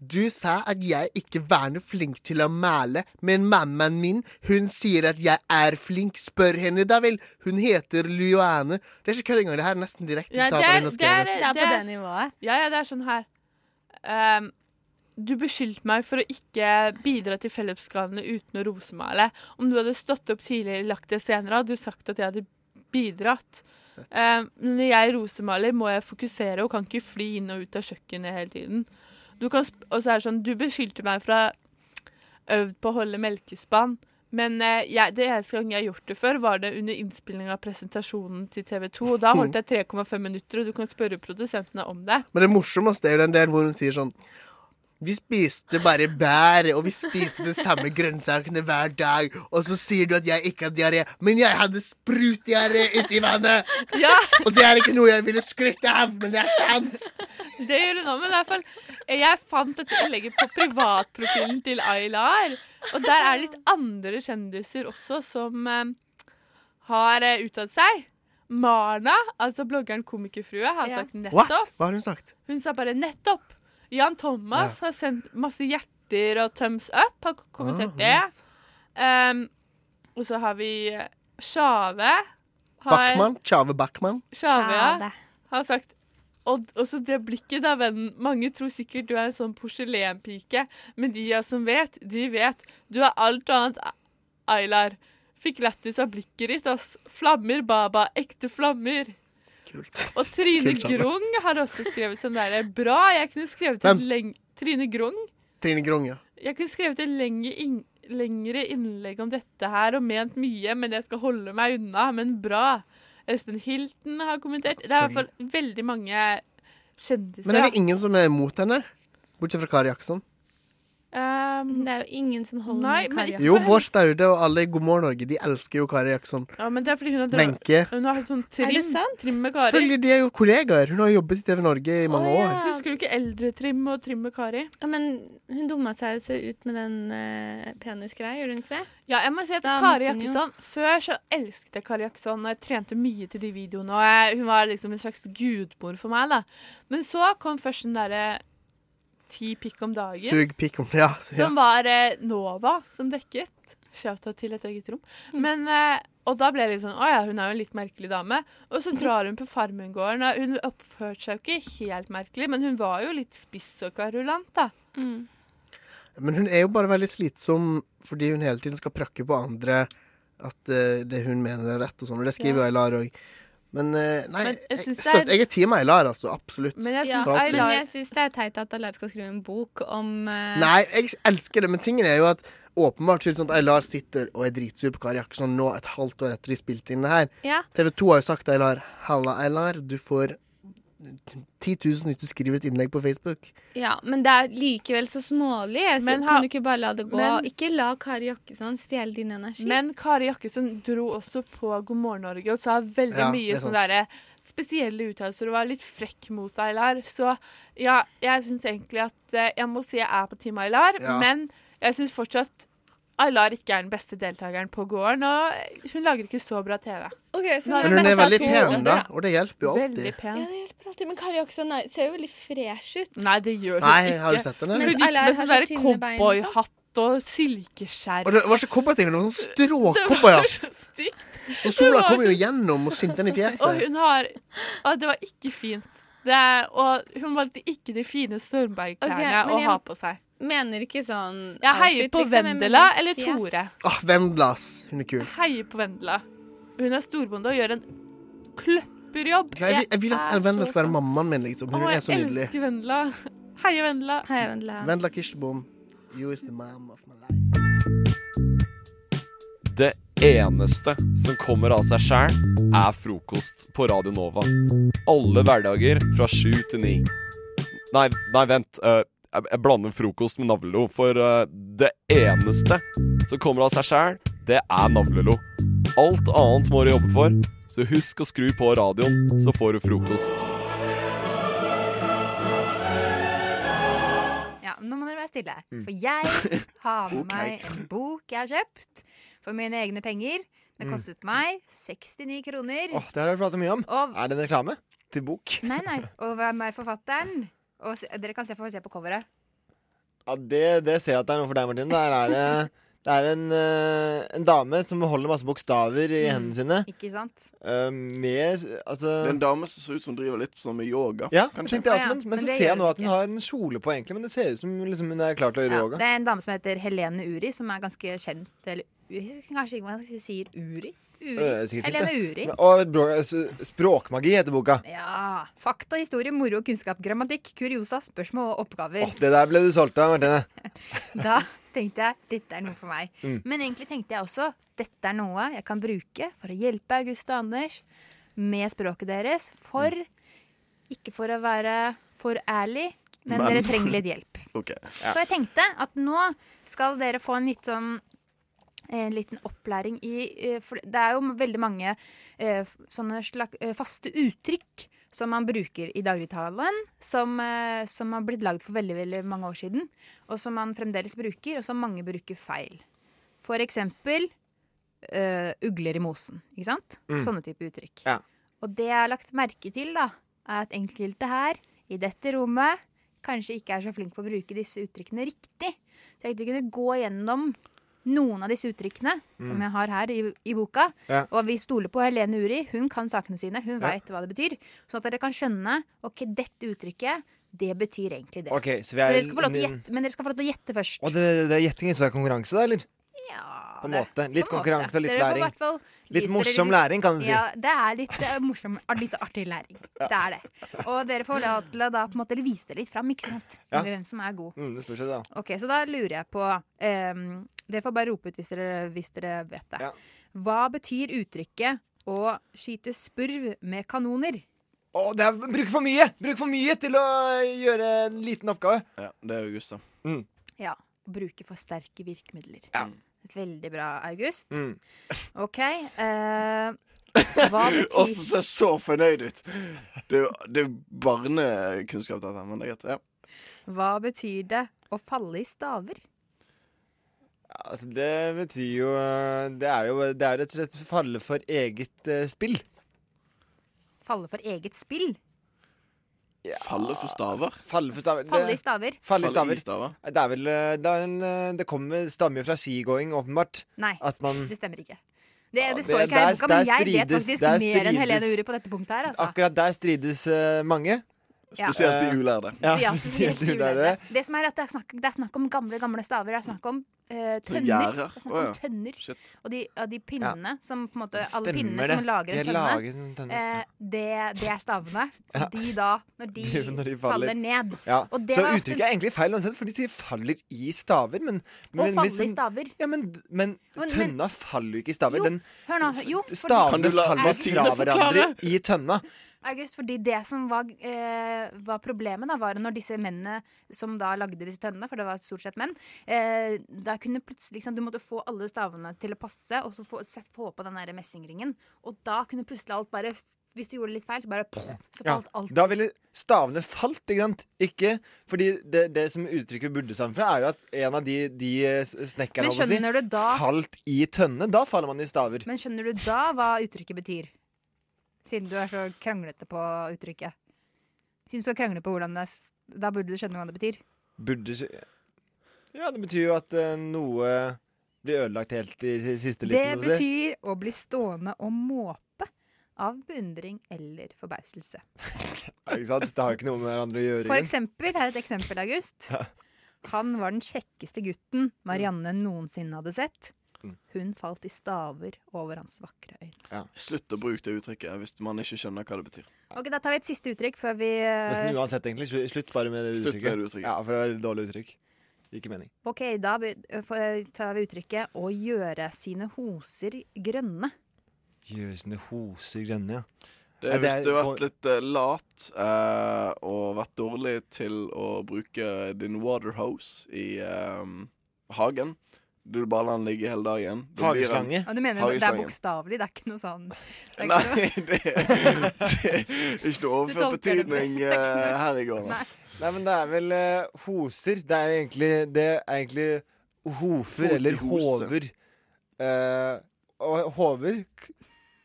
S10: Du sa at jeg ikke var noe flink til å male, men mammaen min hun sier at jeg er flink. Spør henne, da vel. Hun heter Luane. Det er ikke kødd engang. Det her er nesten direkte
S5: Ja,
S10: sitat
S5: det
S10: av
S5: er-
S10: henne
S5: det er-
S10: skrevet.
S13: Det er på
S5: det-
S13: det nivået.
S5: Ja, ja, det er sånn her. Ehm, du beskyldte meg for å ikke bidra til fellesgavene uten å rosemale. Om du hadde stått opp tidlig lagt det senere, hadde du sagt at jeg hadde bidratt. Ehm, men når jeg rosemaler, må jeg fokusere og kan ikke fly inn og ut av kjøkkenet hele tiden. Du kan sp og så er det sånn, du beskyldte meg for å ha øvd på å holde melkespann. Men eh, jeg, det eneste gang jeg har gjort det før, var det under innspilling av presentasjonen til TV 2. Og da holdt jeg 3,5 minutter, og du kan spørre produsentene om det.
S10: Men det morsomste er jo den delen hvor hun sier sånn Vi spiste bare bær, og vi spiste de samme grønnsakene hver dag, og så sier du at jeg ikke har diaré, men jeg hadde sprutdiaré uti vannet! Og det er ikke noe jeg ville skrytte av, men det er sant!
S5: Det gjør hun òg, men i hvert fall Jeg fant dette innlegget på privatprofilen til Aylar. Og der er det litt andre kjendiser også som eh, har eh, uttalt seg. Marna, altså bloggeren Komikerfrue, har sagt
S10: What?
S5: nettopp.
S10: Hva har hun sagt?
S5: Hun sa bare 'nettopp'. Jan Thomas har sendt masse hjerter og thumbs up, har k- kommentert
S10: Ah,
S5: det. Ehm, og så har vi eh, Sjave. har-
S10: Backman? Tjave Backman?
S5: Sjave ja, har sagt og også det blikket, da, vennen. Mange tror sikkert du er en sånn porselenpike, men de av som vet, de vet. Du er alt annet Aylar. Fikk lættis av blikket ditt, ass. Flammer, baba. Ekte flammer.
S10: Kult.
S5: Og Trine
S10: Kult, Sanne.
S5: Grung har også skrevet sånn derre Bra, jeg kunne skrevet
S10: Hvem?
S5: en leng... Trine Grung.
S10: Trine Grung, ja.
S5: Jeg kunne skrevet et lenge inn- lengre innlegg om dette her og ment mye, men jeg skal holde meg unna. Men bra. Espen Hilton har kommentert. Det er i hvert fall veldig mange kjendiser.
S10: Men er det
S5: da.
S10: ingen som er imot henne? Bortsett fra Kari Jackson.
S5: Ehm,
S13: Det er jo ingen som holder
S5: Nei,
S13: med
S5: men
S13: Kari.
S5: ikke
S10: Jo,
S5: for
S10: vår staude og alle i God morgen Norge, de elsker jo Kari Jackson.
S5: ja, men det er fordi hun har, dra-
S10: Wenche.
S5: hun har hatt sånn
S13: Er det
S5: trim, trim med Kari.
S10: Selvfølgelig, de er jo kollegaer. Hun har jobbet i TV Norge i mange år.
S5: Husker du ikke Eldretrim og Trim med Kari?
S13: Ja, men hun dumma seg jo så ut med den uh, penisgreia, gjorde hun ikke det?
S5: Ja, jeg må si at
S13: Da
S5: Kari
S13: måtte hun jo-
S5: Jakkesson Før så elsket jeg Kari Jakkesson, og jeg trente mye til de videoene. Og jeg, hun var liksom en slags gudmor for meg, da. Men så kom først den derre ti pikk om dagen.
S10: Sug pikk om Ja, så, ja.
S5: Som var eh, Nova som dekket. Shoutout til et eget rom. Men, eh, og da ble jeg litt sånn Å ja, hun er jo en litt merkelig dame. Og så drar hun på Farmengården, og hun oppførte seg jo ikke helt merkelig, men hun var jo litt spiss og kverulant, da.
S10: Men hun er jo bare veldig slitsom fordi hun hele tiden skal prakke på andre at eh, det hun mener er rett og sånn. Og det skriver jo
S5: Ja.
S10: Eilar òg. Men eh, nei,
S5: Men jeg
S10: jeg,
S5: synes det er-
S10: støtter, jeg er team Eilar, altså. Absolutt.
S5: Men jeg
S10: Ja.
S5: syns
S10: For alt det.
S13: Men jeg syns det er teit at Alar skal skrive en bok om eh,
S10: Nei, jeg elsker det, men tingen er jo at åpenbart så er det sånn at Eilar sitter og er dritsur på Kari Jakkesson nå et halvt år etter de spilte inn det her.
S13: Ja.
S10: TV 2 har jo sagt til Eilar Halla, Eilar, du får 10 000 hvis du skriver et innlegg på Facebook.
S13: Ja, men det er likevel så smålig. Så
S5: Men ha-
S13: kan du ikke bare la det gå?
S5: Men-
S13: ikke la Kari Jakkesson stjele din energi.
S5: Men Kari Jakkesson dro også på God morgen Norge og sa veldig
S13: Ja, det
S5: mye
S13: er
S5: sånne
S13: sant.
S5: derre spesielle uttalelser og var litt frekk mot Aylar. Så ja, jeg syns egentlig at eh, Jeg må si jeg er på Team Aylar,
S13: Ja.
S5: men jeg syns fortsatt Aylar ikke er den beste deltakeren på gården, og hun lager ikke så bra TV.
S13: Ok, så
S5: Nå
S13: nå
S10: Men hun
S13: best
S10: er
S13: av
S10: veldig
S13: to
S10: pen,
S13: runder,
S10: da, og det hjelper jo
S5: Veldig
S10: alltid.
S5: pen.
S13: Ja, det hjelper alltid. Men Kari Jakkesson er- ser jo veldig fresh ut.
S5: Nei, det gjør hun
S10: Nei,
S5: ikke.
S10: har du sett henne?
S5: Hun
S10: Mens
S5: gikk
S13: Aylar
S5: med
S13: har
S5: sånn
S13: så
S5: derre
S13: tynne bein og sånn.
S5: cowboyhatt og silkeskjerf.
S10: Og det var ikke cowboyting, det var sånn stråcowboyhatt. Så sola kom jo gjennom og skinte henne i
S5: Og
S10: fjeset.
S5: hun har Og det var ikke fint. Det er, og hun valgte ikke de fine Stormberg-klærne
S13: Ok, men
S5: å
S13: jeg-
S5: ha på seg.
S13: Mener ikke sånn
S5: Jeg heier
S13: outfit,
S5: på
S13: liksom, jeg mener
S5: Vendela eller
S13: fjes.
S5: Tore.
S10: Ah, Vendela, ass. Hun er kul.
S5: Heier på Vendela. Hun er storbonde og gjør en kløpperjobb.
S10: Jeg, vil- jeg vil at Vendela skal være mammaen min, liksom. Hun
S5: Å,
S10: er
S5: jeg
S10: så nydelig.
S5: elsker Vendela. Heia Vendela.
S10: Vendela Kirstebom, you is the mom of my life.
S1: Det eneste som kommer av seg sjæl, er frokost på Radio Nova. Alle hverdager fra sju til ni. Nei, nei, vent. eh, jeg, jeg blander frokost med navlelo. For eh, det eneste som kommer av seg sjæl, det er navlelo. Alt annet må du jobbe for, så husk å skru på radioen, så får du frokost.
S14: Ja, nå må dere være stille.
S1: Mm.
S14: For jeg har med
S1: Ok.
S14: meg en bok jeg har kjøpt for mine egne penger. Det
S15: Mm.
S14: kostet meg 69 kroner.
S15: Åh, det har dere pratet mye om.
S14: Og-
S15: Er det en reklame til bok?
S14: Nei, nei. Og hvem er forfatteren? Og se, dere kan se, få se på coveret.
S15: Ja, det, det ser jeg at det er noe for deg, Martine. Der er det, det er en, eh, en dame som holder masse bokstaver i hendene sine.
S14: Mm. Ikke sant?
S15: eh, med altså
S16: Det er en dame som ser ut som hun driver litt sånn med yoga.
S15: Ja,
S16: kanskje.
S15: tenkte jeg også, men,
S14: Men
S15: men så
S14: det
S15: ser
S14: gjør
S15: jeg nå at hun har en kjole på, egentlig. Men det ser ut som liksom, hun er klar til å gjøre
S14: Ja,
S15: yoga.
S14: det er en dame som heter Helene Uri, som er ganske kjent. Eller u- kanskje ikke man sier Uri? Uri.
S15: Øh, sikkert fint,
S14: Helene
S15: det.
S14: Uri.
S15: Men- Og brå- s- språkmagi heter boka.
S14: Ja. Fakta, historie, moro, kunnskap, grammatikk, kuriosa, spørsmål og oppgaver.
S15: Åh, det der ble du solgt av, Martine.
S14: Da tenkte jeg dette er noe for meg.
S15: Mm.
S14: Men egentlig tenkte jeg også dette er noe jeg kan bruke for å hjelpe August og Anders med språket deres. For ikke for å være for ærlig, men,
S16: Men-
S14: dere trenger litt hjelp.
S16: Ok.
S14: Så jeg tenkte at nå skal dere få en litt sånn eh, en liten opplæring i eh, For det er jo veldig mange eh, f- sånne slag, eh, faste uttrykk som man bruker i dagligtalen, som, eh, som har blitt lagd for veldig, veldig mange år siden, og som man fremdeles bruker, og som mange bruker feil. For eksempel eh, ugler i mosen, ikke sant?
S17: Mm.
S14: Sånne type uttrykk.
S15: Ja.
S14: Og det jeg har lagt merke til, da, er at enkelte her, i dette rommet, kanskje ikke er så flink på å bruke disse uttrykkene riktig. Så jeg tenkte vi kunne gå gjennom noen av disse uttrykkene som
S17: Mm.
S14: jeg har her i, i boka.
S17: Ja.
S14: Og vi stoler på Helene Uri. Hun kan sakene sine. Hun
S15: Ja.
S14: vet hva det betyr. Sånn at dere kan skjønne ok, dette uttrykket, det betyr egentlig det.
S15: Ok, så vi er
S14: dere skal få lov til å
S15: en-
S14: gjette, men dere skal få lov til å gjette først.
S15: Og det, det er gjetting, så det er konkurranse, da, eller?
S14: Ja,
S15: På en
S14: det-
S15: måte. Litt
S14: på en måte.
S15: konkurranse og litt
S14: Dere får
S15: læring.
S14: hvert fall
S15: Litt
S14: vise
S15: morsom
S14: dere
S15: læring, kan du si.
S14: Ja, det er litt eh, morsom ah, litt artig læring. Det er det. Og dere får lov til å da på en måte vise dere litt fram, ikke sant?
S15: Ja.
S14: Hvem som er god.
S15: Mm, det spørs det, da.
S14: Ok, så da lurer jeg på ehm, Dere får bare rope ut hvis dere, hvis dere vet det.
S15: Ja.
S14: Hva betyr uttrykket 'å skyte spurv med kanoner'?
S15: Å, det er bruk for mye! Bruk for mye til å gjøre en liten oppgave.
S16: Ja, det er August, da.
S14: Ja. Bruke for sterke virkemidler.
S15: Ja.
S14: Veldig bra, August.
S15: Mm.
S14: OK. eh, hva
S16: Og
S14: betyr
S16: så ser så fornøyd ut. Det er jo det er jo barnekunnskap, dette, men det er greit. Ja.
S14: Hva betyr det å falle i staver?
S15: Altså, det betyr jo eh, Det er jo det er rett og slett falle for eget eh, spill.
S14: Falle for eget spill?
S16: Falle for staver?
S15: Falle for staver.
S14: Falle i
S15: Det-
S14: staver?
S15: Falle i
S16: Falle
S15: staver.
S16: i staver.
S15: Det er vel eh, Det, er en, eh, det kommer stammer fra skigåing, åpenbart.
S14: Nei,
S15: At man
S14: det stemmer ikke. Det, det
S15: Um, det-
S14: står ikke her i
S15: der-
S14: boka, men
S15: der
S14: jeg vet
S15: strides-
S14: faktisk
S15: der
S14: mer enn Helene
S15: strides-
S14: Uri på dette punktet her. Altså.
S15: Akkurat der strides eh, mange.
S14: Ja. Spesielt de
S15: Eh,
S16: ulærde.
S15: Ja,
S14: Så ja,
S15: spesielt de
S14: ulærde.
S15: ulærde.
S14: Det som er at det er snakk, det er snakk om gamle, gamle staver. Det er snakk om eh, tønner.
S15: gjerder.
S14: Det er snakk
S15: Å,
S14: om
S15: ja.
S14: tønner.
S16: Shit.
S14: Og de, ja, de pinnene som på en måte Alle
S15: Stemmer
S14: pinnene
S15: det.
S14: som lager
S15: De
S14: en
S15: er laget
S14: tønne.
S15: som tønner, ja.
S14: eh, det, det er stavene. Og de da, når de,
S15: Når de faller.
S14: faller. ned.
S15: Ja.
S14: Og det
S15: Så
S14: er ofte-
S15: uttrykket er egentlig feil uansett, for de sier 'faller i staver', men,
S14: Å
S15: men
S14: falle
S15: hvis
S14: i
S15: en-
S14: staver.
S15: Ja, men, men
S14: Men- men-
S15: tønna faller jo ikke i staver.
S14: Jo,
S15: Den
S14: Hør nå. Jo, fordi-
S15: stavene faller fra
S14: August,
S15: hverandre i tønna.
S14: August, fordi det som var, eh, var problemet da, var når disse mennene som da lagde disse tønnene, for det var stort sett menn, eh, da kunne plutselig, liksom, du måtte få alle stavene til å passe, og så få, sett, få på den der messingringen, og da kunne plutselig alt bare, hvis du gjorde det litt feil, så bare, så
S15: Ja,
S14: falt alt.
S15: da ville stavene falt, ikke sant? Ikke, fordi det, det som uttrykket burde sammen fra, er jo at en av de, de eh, s- snekkerne
S14: Men
S15: holdt jeg på å
S14: skjønner du da-
S15: falt i tønne. Da faller man i staver.
S14: Men skjønner du da hva uttrykket betyr? Siden du er så kranglete på uttrykket. Siden du skal krangle på hvordan det er, s- da burde du skjønne hva det betyr.
S15: Burde skj- Ja, det betyr jo at eh, noe blir ødelagt helt i si- siste
S14: Det
S15: liten. må jeg si.
S14: betyr å bli stående og måpe av beundring eller forbauselse.
S15: Ja, ikke sant? Det har jo ikke noe med hverandre å gjøre.
S14: For
S15: igjen.
S14: eksempel, her er et eksempel, August.
S15: Ja.
S14: Han var den kjekkeste gutten Marianne
S15: Mm.
S14: noensinne hadde sett. Hun falt i staver over hans vakre øyne.
S16: Slutt å bruke det uttrykket hvis man ikke skjønner hva det betyr.
S14: Ok, Da tar vi et siste uttrykk før vi eh,
S15: Nesten uansett, egentlig. Slu- Slutt bare med det
S16: Slutt med
S15: uttrykket.
S16: det uttrykket.
S15: Ja, for det var et dårlig uttrykk. Ikke mening.
S14: Ok, da be- eh, får- eh, tar vi uttrykket 'å gjøre sine hoser grønne'.
S15: Gjøre sine hoser grønne, ja.
S16: Det
S15: Nei,
S16: er hvis du har
S15: på-
S16: vært litt eh, lat eh, og vært dårlig til å bruke din water hose i eh, hagen. Du bare lar den ligge hele dagen. Det blir en-
S14: Ja, du mener det er
S16: Hageslange.
S14: bokstavelig, det er ikke noe sånn det er ikke noe-
S16: Nei, det, det er ikke noe
S14: Du
S16: overført
S14: tolker det med-
S16: betydning eh, her i går.
S14: Nei.
S16: Altså.
S15: Nei, men det er vel eh, hoser. Det er egentlig, det er egentlig hofer
S16: Fot i
S15: eller
S16: hose.
S15: håver. Eh, og håver k-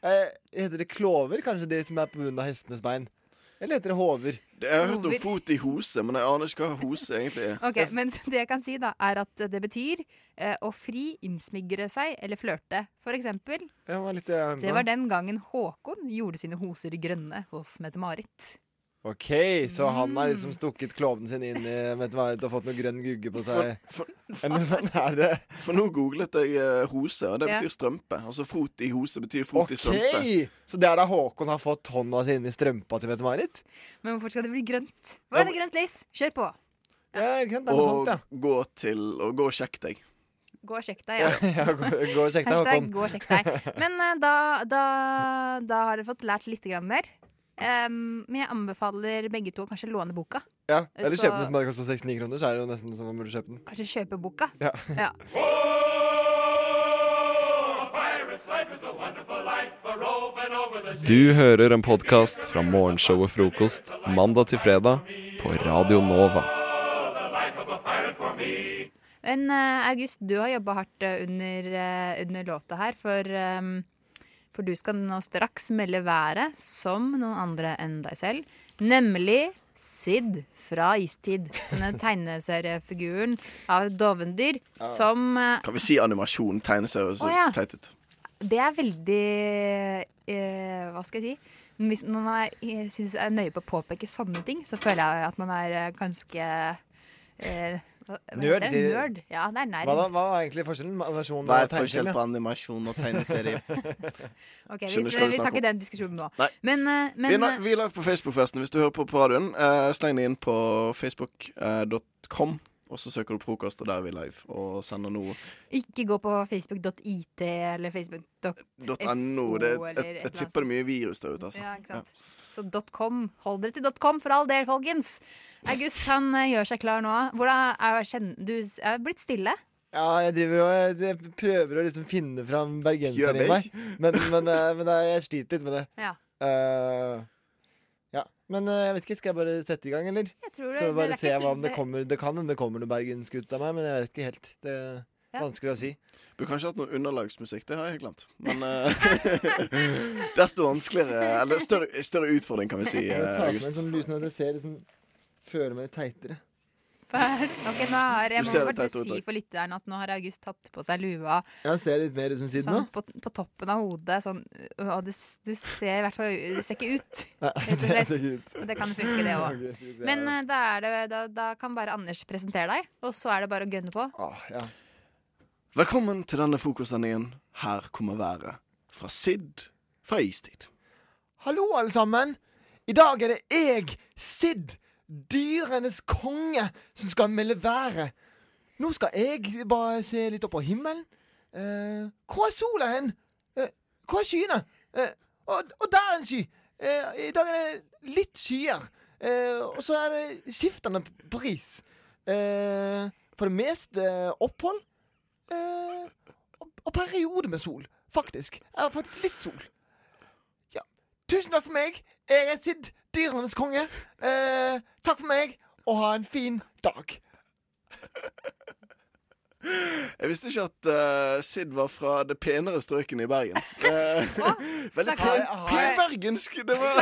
S15: eh, Heter det klover, kanskje, det som er på bunnen av hestenes bein? Eller heter det hover?
S16: Jeg har hørt om
S14: Hover.
S16: fot i hose, men jeg aner ikke hva hose egentlig er.
S14: Ok, Men det jeg kan si, da, er at det betyr eh, å fri, innsmigre seg eller flørte. For eksempel.
S15: Det var, litt, eh,
S14: det var den gangen Håkon gjorde sine hoser grønne hos Mette-Marit.
S15: OK, så han har liksom stukket klovnen sin inn i Mette-Marit og fått noe grønn gugge på seg?
S16: For,
S15: Eller noe sånt er det.
S16: For nå googlet jeg eh, hose, og det
S15: Ja.
S16: betyr strømpe. Altså fot i hose betyr fot i strømpe.
S15: Ok, Så det er da Håkon har fått hånda si inn i strømpa til Mette-Marit?
S14: Men hvorfor skal det bli grønt? Hva er det grønt lys? Kjør på!
S15: er noe
S16: Og
S15: sånt, ja.
S16: gå til Og gå og sjekk deg.
S14: Gå og sjekk deg, ja.
S15: Ja, gå, gå og sjekk deg,
S14: Hashtag
S15: Håkon.
S14: gå og sjekk deg. Men eh, da, da, da har dere fått lært litt grann mer. Em, men jeg anbefaler begge to å kanskje låne boka.
S15: Ja, Eller
S14: Så-
S15: kjøpe den som hadde kosta 69 kroner, så er det jo nesten som om man burde kjøpe den.
S14: Kanskje kjøpe boka.
S15: Ja.
S14: Ja.
S1: Du hører en podkast fra morgenshowet Frokost mandag til fredag på Radio Nova.
S14: Men eh, August, du har jobba hardt eh, under, eh, under låta her, for, em, for du skal nå straks melde været som noen andre enn deg selv. Nemlig Sid fra Istid. Denne tegneseriefiguren av et dovendyr
S16: Ja.
S14: som eh,
S16: Kan vi si animasjon? Tegneserie
S14: Å,
S16: så
S14: ja.
S16: teit ut.
S14: Det er veldig eh, Hva skal jeg si? Hvis når man er, jeg synes er nøye på å påpeke sånne ting, så føler jeg at man er eh, ganske eh, hva, hva heter
S15: Nerd,
S14: det?
S15: sier-
S14: Nerd. Ja, det er nerd.
S15: Hva, da, hva er egentlig forskjellen? Animasjon
S16: Hva er
S15: og tegneserie?
S16: forskjell på animasjon og tegneserie?
S14: Ok, vi,
S16: Skjønner ikke hva vi
S14: vi tar
S16: snakker om.
S14: ikke den diskusjonen nå.
S16: Nei.
S14: Men, eh,
S16: vi,
S14: men
S16: er, na- vi er live på Facebook, forresten. Hvis du hører på på radioen, eh, sleng det inn på facebook.com. Og så søker du frokost, og der er vi live. Og sender nå
S14: eh, ikke gå på facebook.it eller facebook.so.
S16: .no. Det, jeg,
S14: eller
S16: jeg,
S14: et eller
S16: jeg
S14: annet
S16: tipper det er mye virus der ute, altså.
S14: Ja, ikke sant. Så .com. Hold dere til .com for all del, folkens. August han eh, gjør seg klar nå. Hvordan er, kjenn- du s- er blitt stille?
S15: Ja, jeg driver og jeg prøver å liksom finne fram bergenseren i
S16: Gjør
S15: meg. Men, men, eh, men eh, jeg sliter litt med det.
S14: Ja.
S15: Eh, ja. Men eh, jeg vet ikke, skal jeg bare sette i gang, eller?
S14: tror det-
S15: Så
S14: det er
S15: bare se
S14: ikke-
S15: hva om det
S14: det-
S15: kommer Det kan hende det kommer noe bergensk ut av meg, men jeg vet ikke helt. Det er
S14: Ja.
S15: vanskelig å si.
S16: Burde kanskje hatt noe underlagsmusikk. Det har jeg glemt. Men eh, desto vanskeligere Eller større, større utfordring, kan vi si.
S15: Jeg
S16: eh,
S15: tar på meg en
S16: August.
S15: sånn lys når jeg ser liksom Føler meg teitere.
S14: Ok, nå har jeg
S15: Du
S14: må
S15: ser det
S14: bare
S15: teit ut,
S14: si
S15: takk.
S14: for lytteren at nå har August tatt på seg lua
S15: Jeg ser litt mer ut som siden
S14: sånn,
S15: nå.
S14: på, på toppen av hodet. Sånn, og det, s- du ser i hvert fall Du ser ikke ut, rett og slett. Og det kan funke, det òg. Men eh, da, er det, da, da kan bare Anders presentere deg, og så er det bare å gønne på.
S15: Ah.
S16: Velkommen til denne frokostsendingen. Her kommer været fra Sid fra Istid.
S15: Hallo, alle sammen. I dag er det jeg, Sid, dyrenes konge, som skal melde været. Nå skal jeg bare se litt opp på himmelen. Eh, hvor er sola hen? Eh, hvor er skyene? Eh, og, og der er en sky. Eh, I dag er det litt skyer. Eh, og så er det skiftende pris. Eh, for det meste opphold. Eh, og, og periode med sol, faktisk. Eh, faktisk litt sol. Tusen takk for meg. Jeg er Sid, dyrenes konge. Eh, takk for meg, og ha en fin dag.
S16: Jeg visste ikke at eh, Sid var fra det penere strøkene i Bergen. Eh, veldig
S15: snakker
S16: pen,
S15: han-
S16: pen bergensk. Det var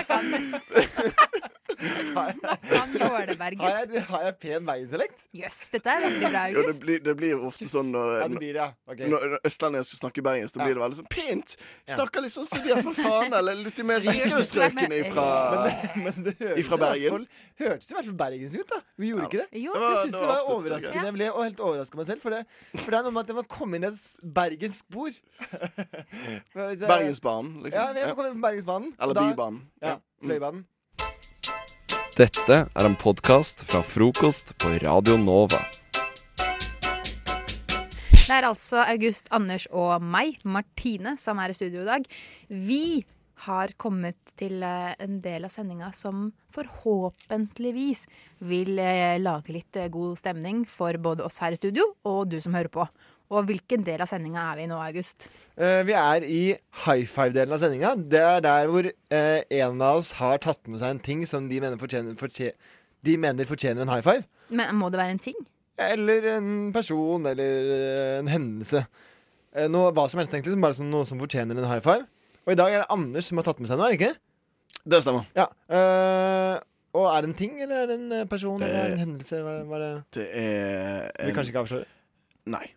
S15: Har jeg, har jeg pen veiselekt?
S14: Jøss, dette er veldig bra,
S16: jo, det, blir, det blir ofte sånn når,
S15: Ja, det blir det, ja. Ok.
S16: når, når østlendinger skal snakke bergensk. Da blir det veldig sånn pent.
S15: Ja.
S16: Snakker litt sånn som de er fra Fana, eller litt de mer rikere strøkene ifra, ifra Bergen.
S15: Hørtes i hvert fall bergensk ut, da. Vi gjorde ikke det.
S16: Jo,
S15: jeg
S16: det
S15: synes
S16: var
S15: det
S16: absolutt
S15: var
S16: greit.
S15: overraskende. Jeg ble helt overraska meg selv, for det, for det er noe med at jeg må komme inn i et s- bergensk bord. Hvis jeg-
S16: Bergensbanen, liksom.
S15: Ja, jeg må komme inn på Bergensbanen.
S16: Eller
S15: og da-
S16: Bybanen. Mm.
S15: Ja, Fløibanen.
S1: Dette er en podkast fra frokost på Radio Nova.
S14: Det er altså August, Anders og meg, Martine, som er i studio i dag. Vi har kommet til eh, en del av sendinga som forhåpentligvis vil eh, lage litt eh, god stemning for både oss her i studio og du som hører på. Og hvilken del av sendinga er vi i nå, August?
S15: Eh, vi er i high five-delen av sendinga. Det er der hvor eh, en av oss har tatt med seg en ting som de mener fortjener, fortje- de mener fortjener en high five.
S14: Men må det være en ting?
S15: Eller en person, eller eh, en hendelse. Eh, noe, hva som helst, egentlig. som Bare som noe som fortjener en high five. Og i dag er det Anders som har tatt med seg noe, er det ikke?
S16: Det stemmer.
S15: Ja. eh, og er det en ting, eller er det en eh, person,
S16: Det-
S15: eller en hendelse? Hva, hva er det?
S16: Det er
S15: Vi kanskje ikke avslører?
S16: Eh, Nei.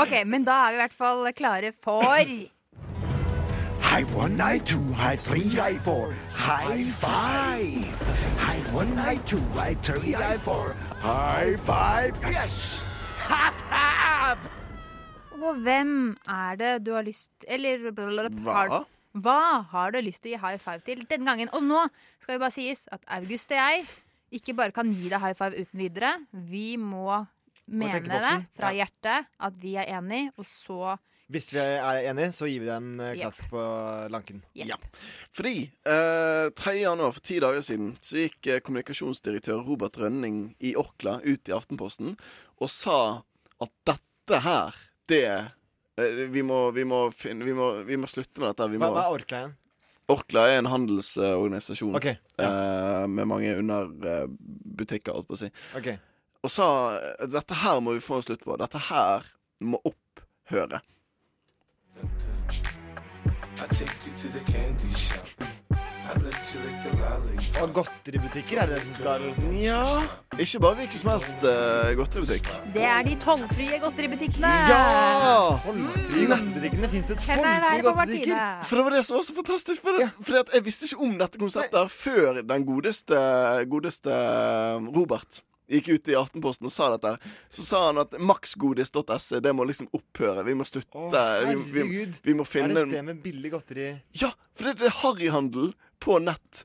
S14: OK, men da er vi i hvert fall klare for
S17: Hei one, hei to, hei tre, hei four. High five! Hei one, hei to, hei tre, hei four. High five, yes!
S14: Half Half! Og hvem er det du har lyst Eller
S17: Hva?
S14: Har, hva har du lyst til å gi high five til denne gangen? Og nå skal det bare sies at August og jeg ikke bare kan gi deg high five uten videre. Vi må
S15: tenke
S14: mene det
S15: boksen.
S14: fra
S15: Ja.
S14: hjertet at vi er enige, og så
S15: Hvis vi er enige, så gir vi deg en eh,
S14: Yep.
S15: klask på lanken.
S14: Yep.
S16: Fordi eh, 3. januar for ti dager siden så gikk eh, kommunikasjonsdirektør Robert Rønning i Orkla ut i Aftenposten og sa at dette her, det eh, vi, må, vi, må finne, vi, må, vi må slutte med dette. Vi
S15: Hva,
S16: må,
S15: hva er Orkla igjen?
S16: Orkla er en handelsorganisasjon
S15: Ok,
S16: eh, med mange underbutikker, holdt på å si.
S15: Ok.
S16: Og sa eh, dette her må vi få en slutt på. Dette her må opphøre.
S15: Og godteributikker er det som skal
S16: Ja. Ikke bare hvilken som helst eh, godteributikk.
S14: Det er de tollfrie godteributikkene!
S16: Ja!
S15: I godteributikkene fins det
S14: Kan jeg være på partiet?
S16: For det var det som var så fantastisk. For det, fordi at jeg visste ikke om dette konseptet her før den godeste, godeste um, Robert gikk ut i Aftenposten og sa dette. her. Så sa han at maksgodis.se, det må liksom opphøre. Vi må slutte. vi, vi,
S15: Herregud.
S16: vi må
S15: er det
S16: finne
S15: et sted med billig godteri?
S16: Ja, for det er harryhandel på nett.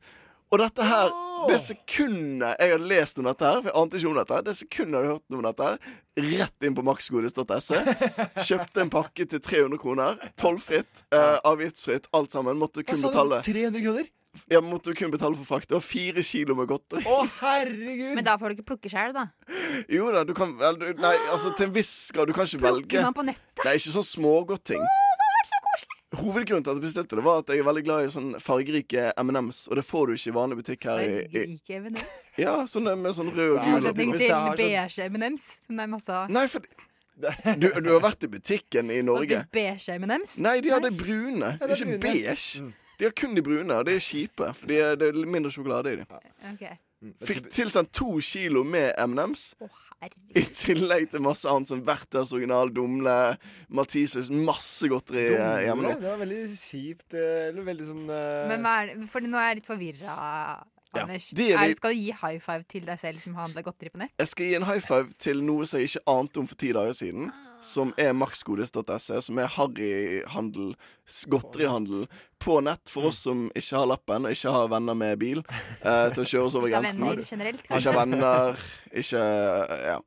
S16: Og dette her Det sekundet jeg hadde lest om dette her, for jeg ante ikke om dette, her, det sekundet jeg hadde hørt om dette her, rett inn på maksgodis.se. Kjøpte en pakke til 300 kroner. Tollfritt, eh, avgiftsfritt, alt sammen. Måtte kun
S15: Hva
S14: Altså,
S15: sa du?
S16: betale
S15: 300 kroner?
S16: Ja, måtte kun betale for frakt. Det var fire kilo med godteri.
S15: Å, herregud!
S14: Men da får du ikke plukke sjøl, da.
S16: Jo da, du kan vel du- Nei, altså til en viss grad. Du kan ikke velge.
S14: man på nettet?
S16: Det er ikke sånn smågodtting. Hovedgrunnen til at jeg bestilte det, var at jeg er veldig glad i sånn fargerike M&M's, og det får du ikke i vanlig butikk her i, i
S14: Ikke M&M's.
S16: Ja, sånn med sånn rød og
S14: I
S16: gul og
S14: motsetning
S16: ting.
S14: til beige M&M's. Som det er masse av.
S16: Nei, for du, du har vært i butikken i
S14: Og
S16: Norge.
S14: spist beige M&M's.
S16: Nei, de har de brune,
S14: Ja, det er
S16: ikke
S14: brune. Mm.
S16: beige. De har kun de brune, og de er kjipe. For de er, det er mindre sjokolade i dem.
S14: Ok.
S16: Fikk tilsendt to kilo med M&M's.
S14: herregud.
S16: I tillegg til masse annet som Vertas original, Dumle, Mathisus, masse godteri eh, hjemme
S15: Dumle?
S16: nå.
S15: Det var veldig kjipt. eh, Eller veldig sånn eh,
S14: Men hva er det? For nå er jeg litt forvirra, Anders.
S16: det er
S14: er
S16: vi-
S14: det, skal du gi high five til deg selv som handler godteri på nett?
S16: Jeg skal gi en high five til noe som jeg ikke ante om for ti dager siden. Som er maksgodis.se, som er harryhandel, s- godterihandel, på nett for oss som ikke har lappen og ikke har venner med bil eh, til å kjøre oss over
S14: Ikke har
S16: grensen.
S14: venner generelt, kanskje.
S16: ikke har venner, ikke eh, Ja.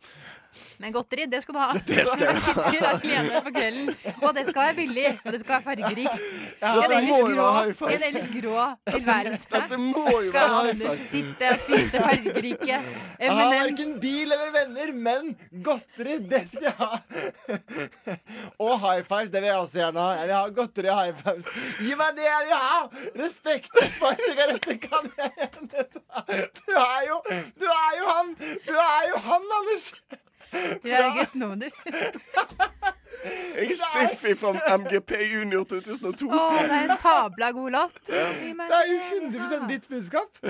S14: Men godteri, det skal du ha.
S16: Det skal jeg ha.
S14: Til deg alene på kvelden. Og det skal være billig, og det skal være fargerikt.
S15: Ja,
S14: I en
S15: det må
S14: ellers
S15: jo
S14: grå,
S15: være high five.
S14: i en ellers grå tilværelse
S15: jo
S14: skal
S15: være high
S14: Anders
S15: five.
S14: sitte og spise fargerike
S15: Jeg har
S14: M&M's.
S15: verken bil eller venner, men godteri, det skal jeg ha. Og high fives, det vil jeg også gjerne ha. Jeg vil ha godteri og high fives. Gi meg det jeg vil ha! Respekt for sigaretter kan jeg gjerne ta. Du er jo Du er jo han! Du er jo han, Anders!
S14: Du er August nå, du.
S16: Jeg er Stiffi fra MGP Junior 2002.
S14: Å, det er en sabla god låt.
S15: Det er jo 100 ditt budskap.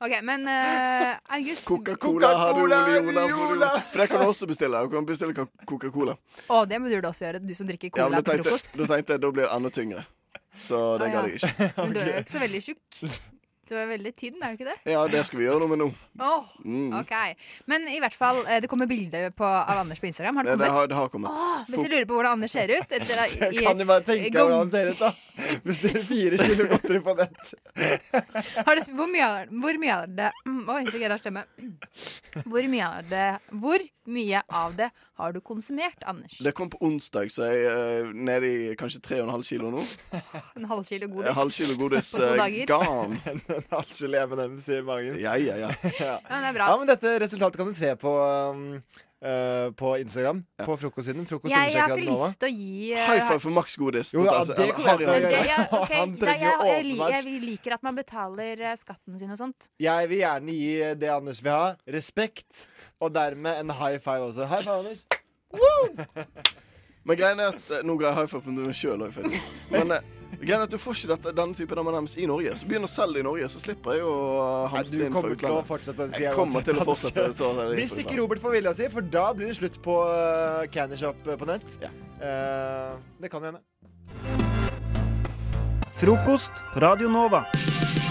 S14: OK, men eh, August
S16: Coca-Cola har du, Ole Jola. For det kan du også bestille. Du kan bestille Coca- Coca-Cola.
S14: Å, det må du da også gjøre, du som drikker
S16: Ja, men
S14: cola
S16: da
S14: til
S16: tenkte,
S14: frokost.
S16: da tenkte jeg da blir det enda tyngre. Så det
S14: Å, ja.
S16: gadd jeg ikke.
S14: Men du er jo ikke så veldig tjukk. Du er veldig tynn, er du ikke det?
S16: Ja, det skal vi gjøre noe med nå.
S14: Åh,
S16: Mm.
S14: ok. Men i hvert fall, eh, det kommer bilde på- av Anders på Instagram. Har det
S16: Det,
S14: kommet?
S16: det, har, det har kommet.
S14: Åh, hvis du lurer på hvordan Anders ser ut etter,
S15: Jeg kan jo bare tenke meg hvordan han ser ut, da. Bestiller fire kilo godteri på nett.
S14: Har det, hvor mye er det, hvor mye er det mm, Oi, det greier å stemme. Hvor mye er det Hvor mye av det har du konsumert, Anders?
S16: Det kom på onsdag, så jeg er nede i kanskje 3,5 kilo nå.
S14: En halv kilo godis?
S16: Ah. En halv kilo godis
S14: På to
S16: eh,
S14: dager.
S16: gone.
S15: En halv gelé med dem, sier magen.
S16: Ja, ja, ja.
S14: Ja, det er bra.
S15: Ja, men dette resultatet kan du se på, um, eh, på Instagram. På frokostsiden. Frokost
S14: Jeg, jeg har ikke
S15: understreker
S14: lyst til å gi eh,
S16: High five for maksgodis.
S15: Jo, ja, det kommer jeg til å
S14: men det,
S15: gjøre.
S14: ja, ok,
S15: Han
S14: det, jeg,
S15: trenger
S14: jeg,
S15: jo
S14: li-
S15: åpenbart.
S14: jeg liker at man betaler eh, skatten sin og sånt.
S15: Jeg vil gjerne gi det Anders vil ha, respekt, og dermed en high five også. High five, Anders.
S16: Men greia er at eh, Nå ga jeg high five på meg sjøl òg, Men eh, Greien er at Du får ikke dette, denne typen M&M's i Norge. Så begynn å selge det i Norge, så slipper jeg å eh, hamstre
S15: du
S16: inn fra
S15: kommer til å
S16: utlandet.
S15: fortsette på den sida.
S16: jeg kommer til å fortsette. sånn å ta det inn fra
S15: Hvis ikke
S16: utlandet.
S15: Robert får vilja si, for da blir det slutt på eh, Candy Shop på nett. Eh, det kan jo hende.
S6: Frokost på Radio Nova.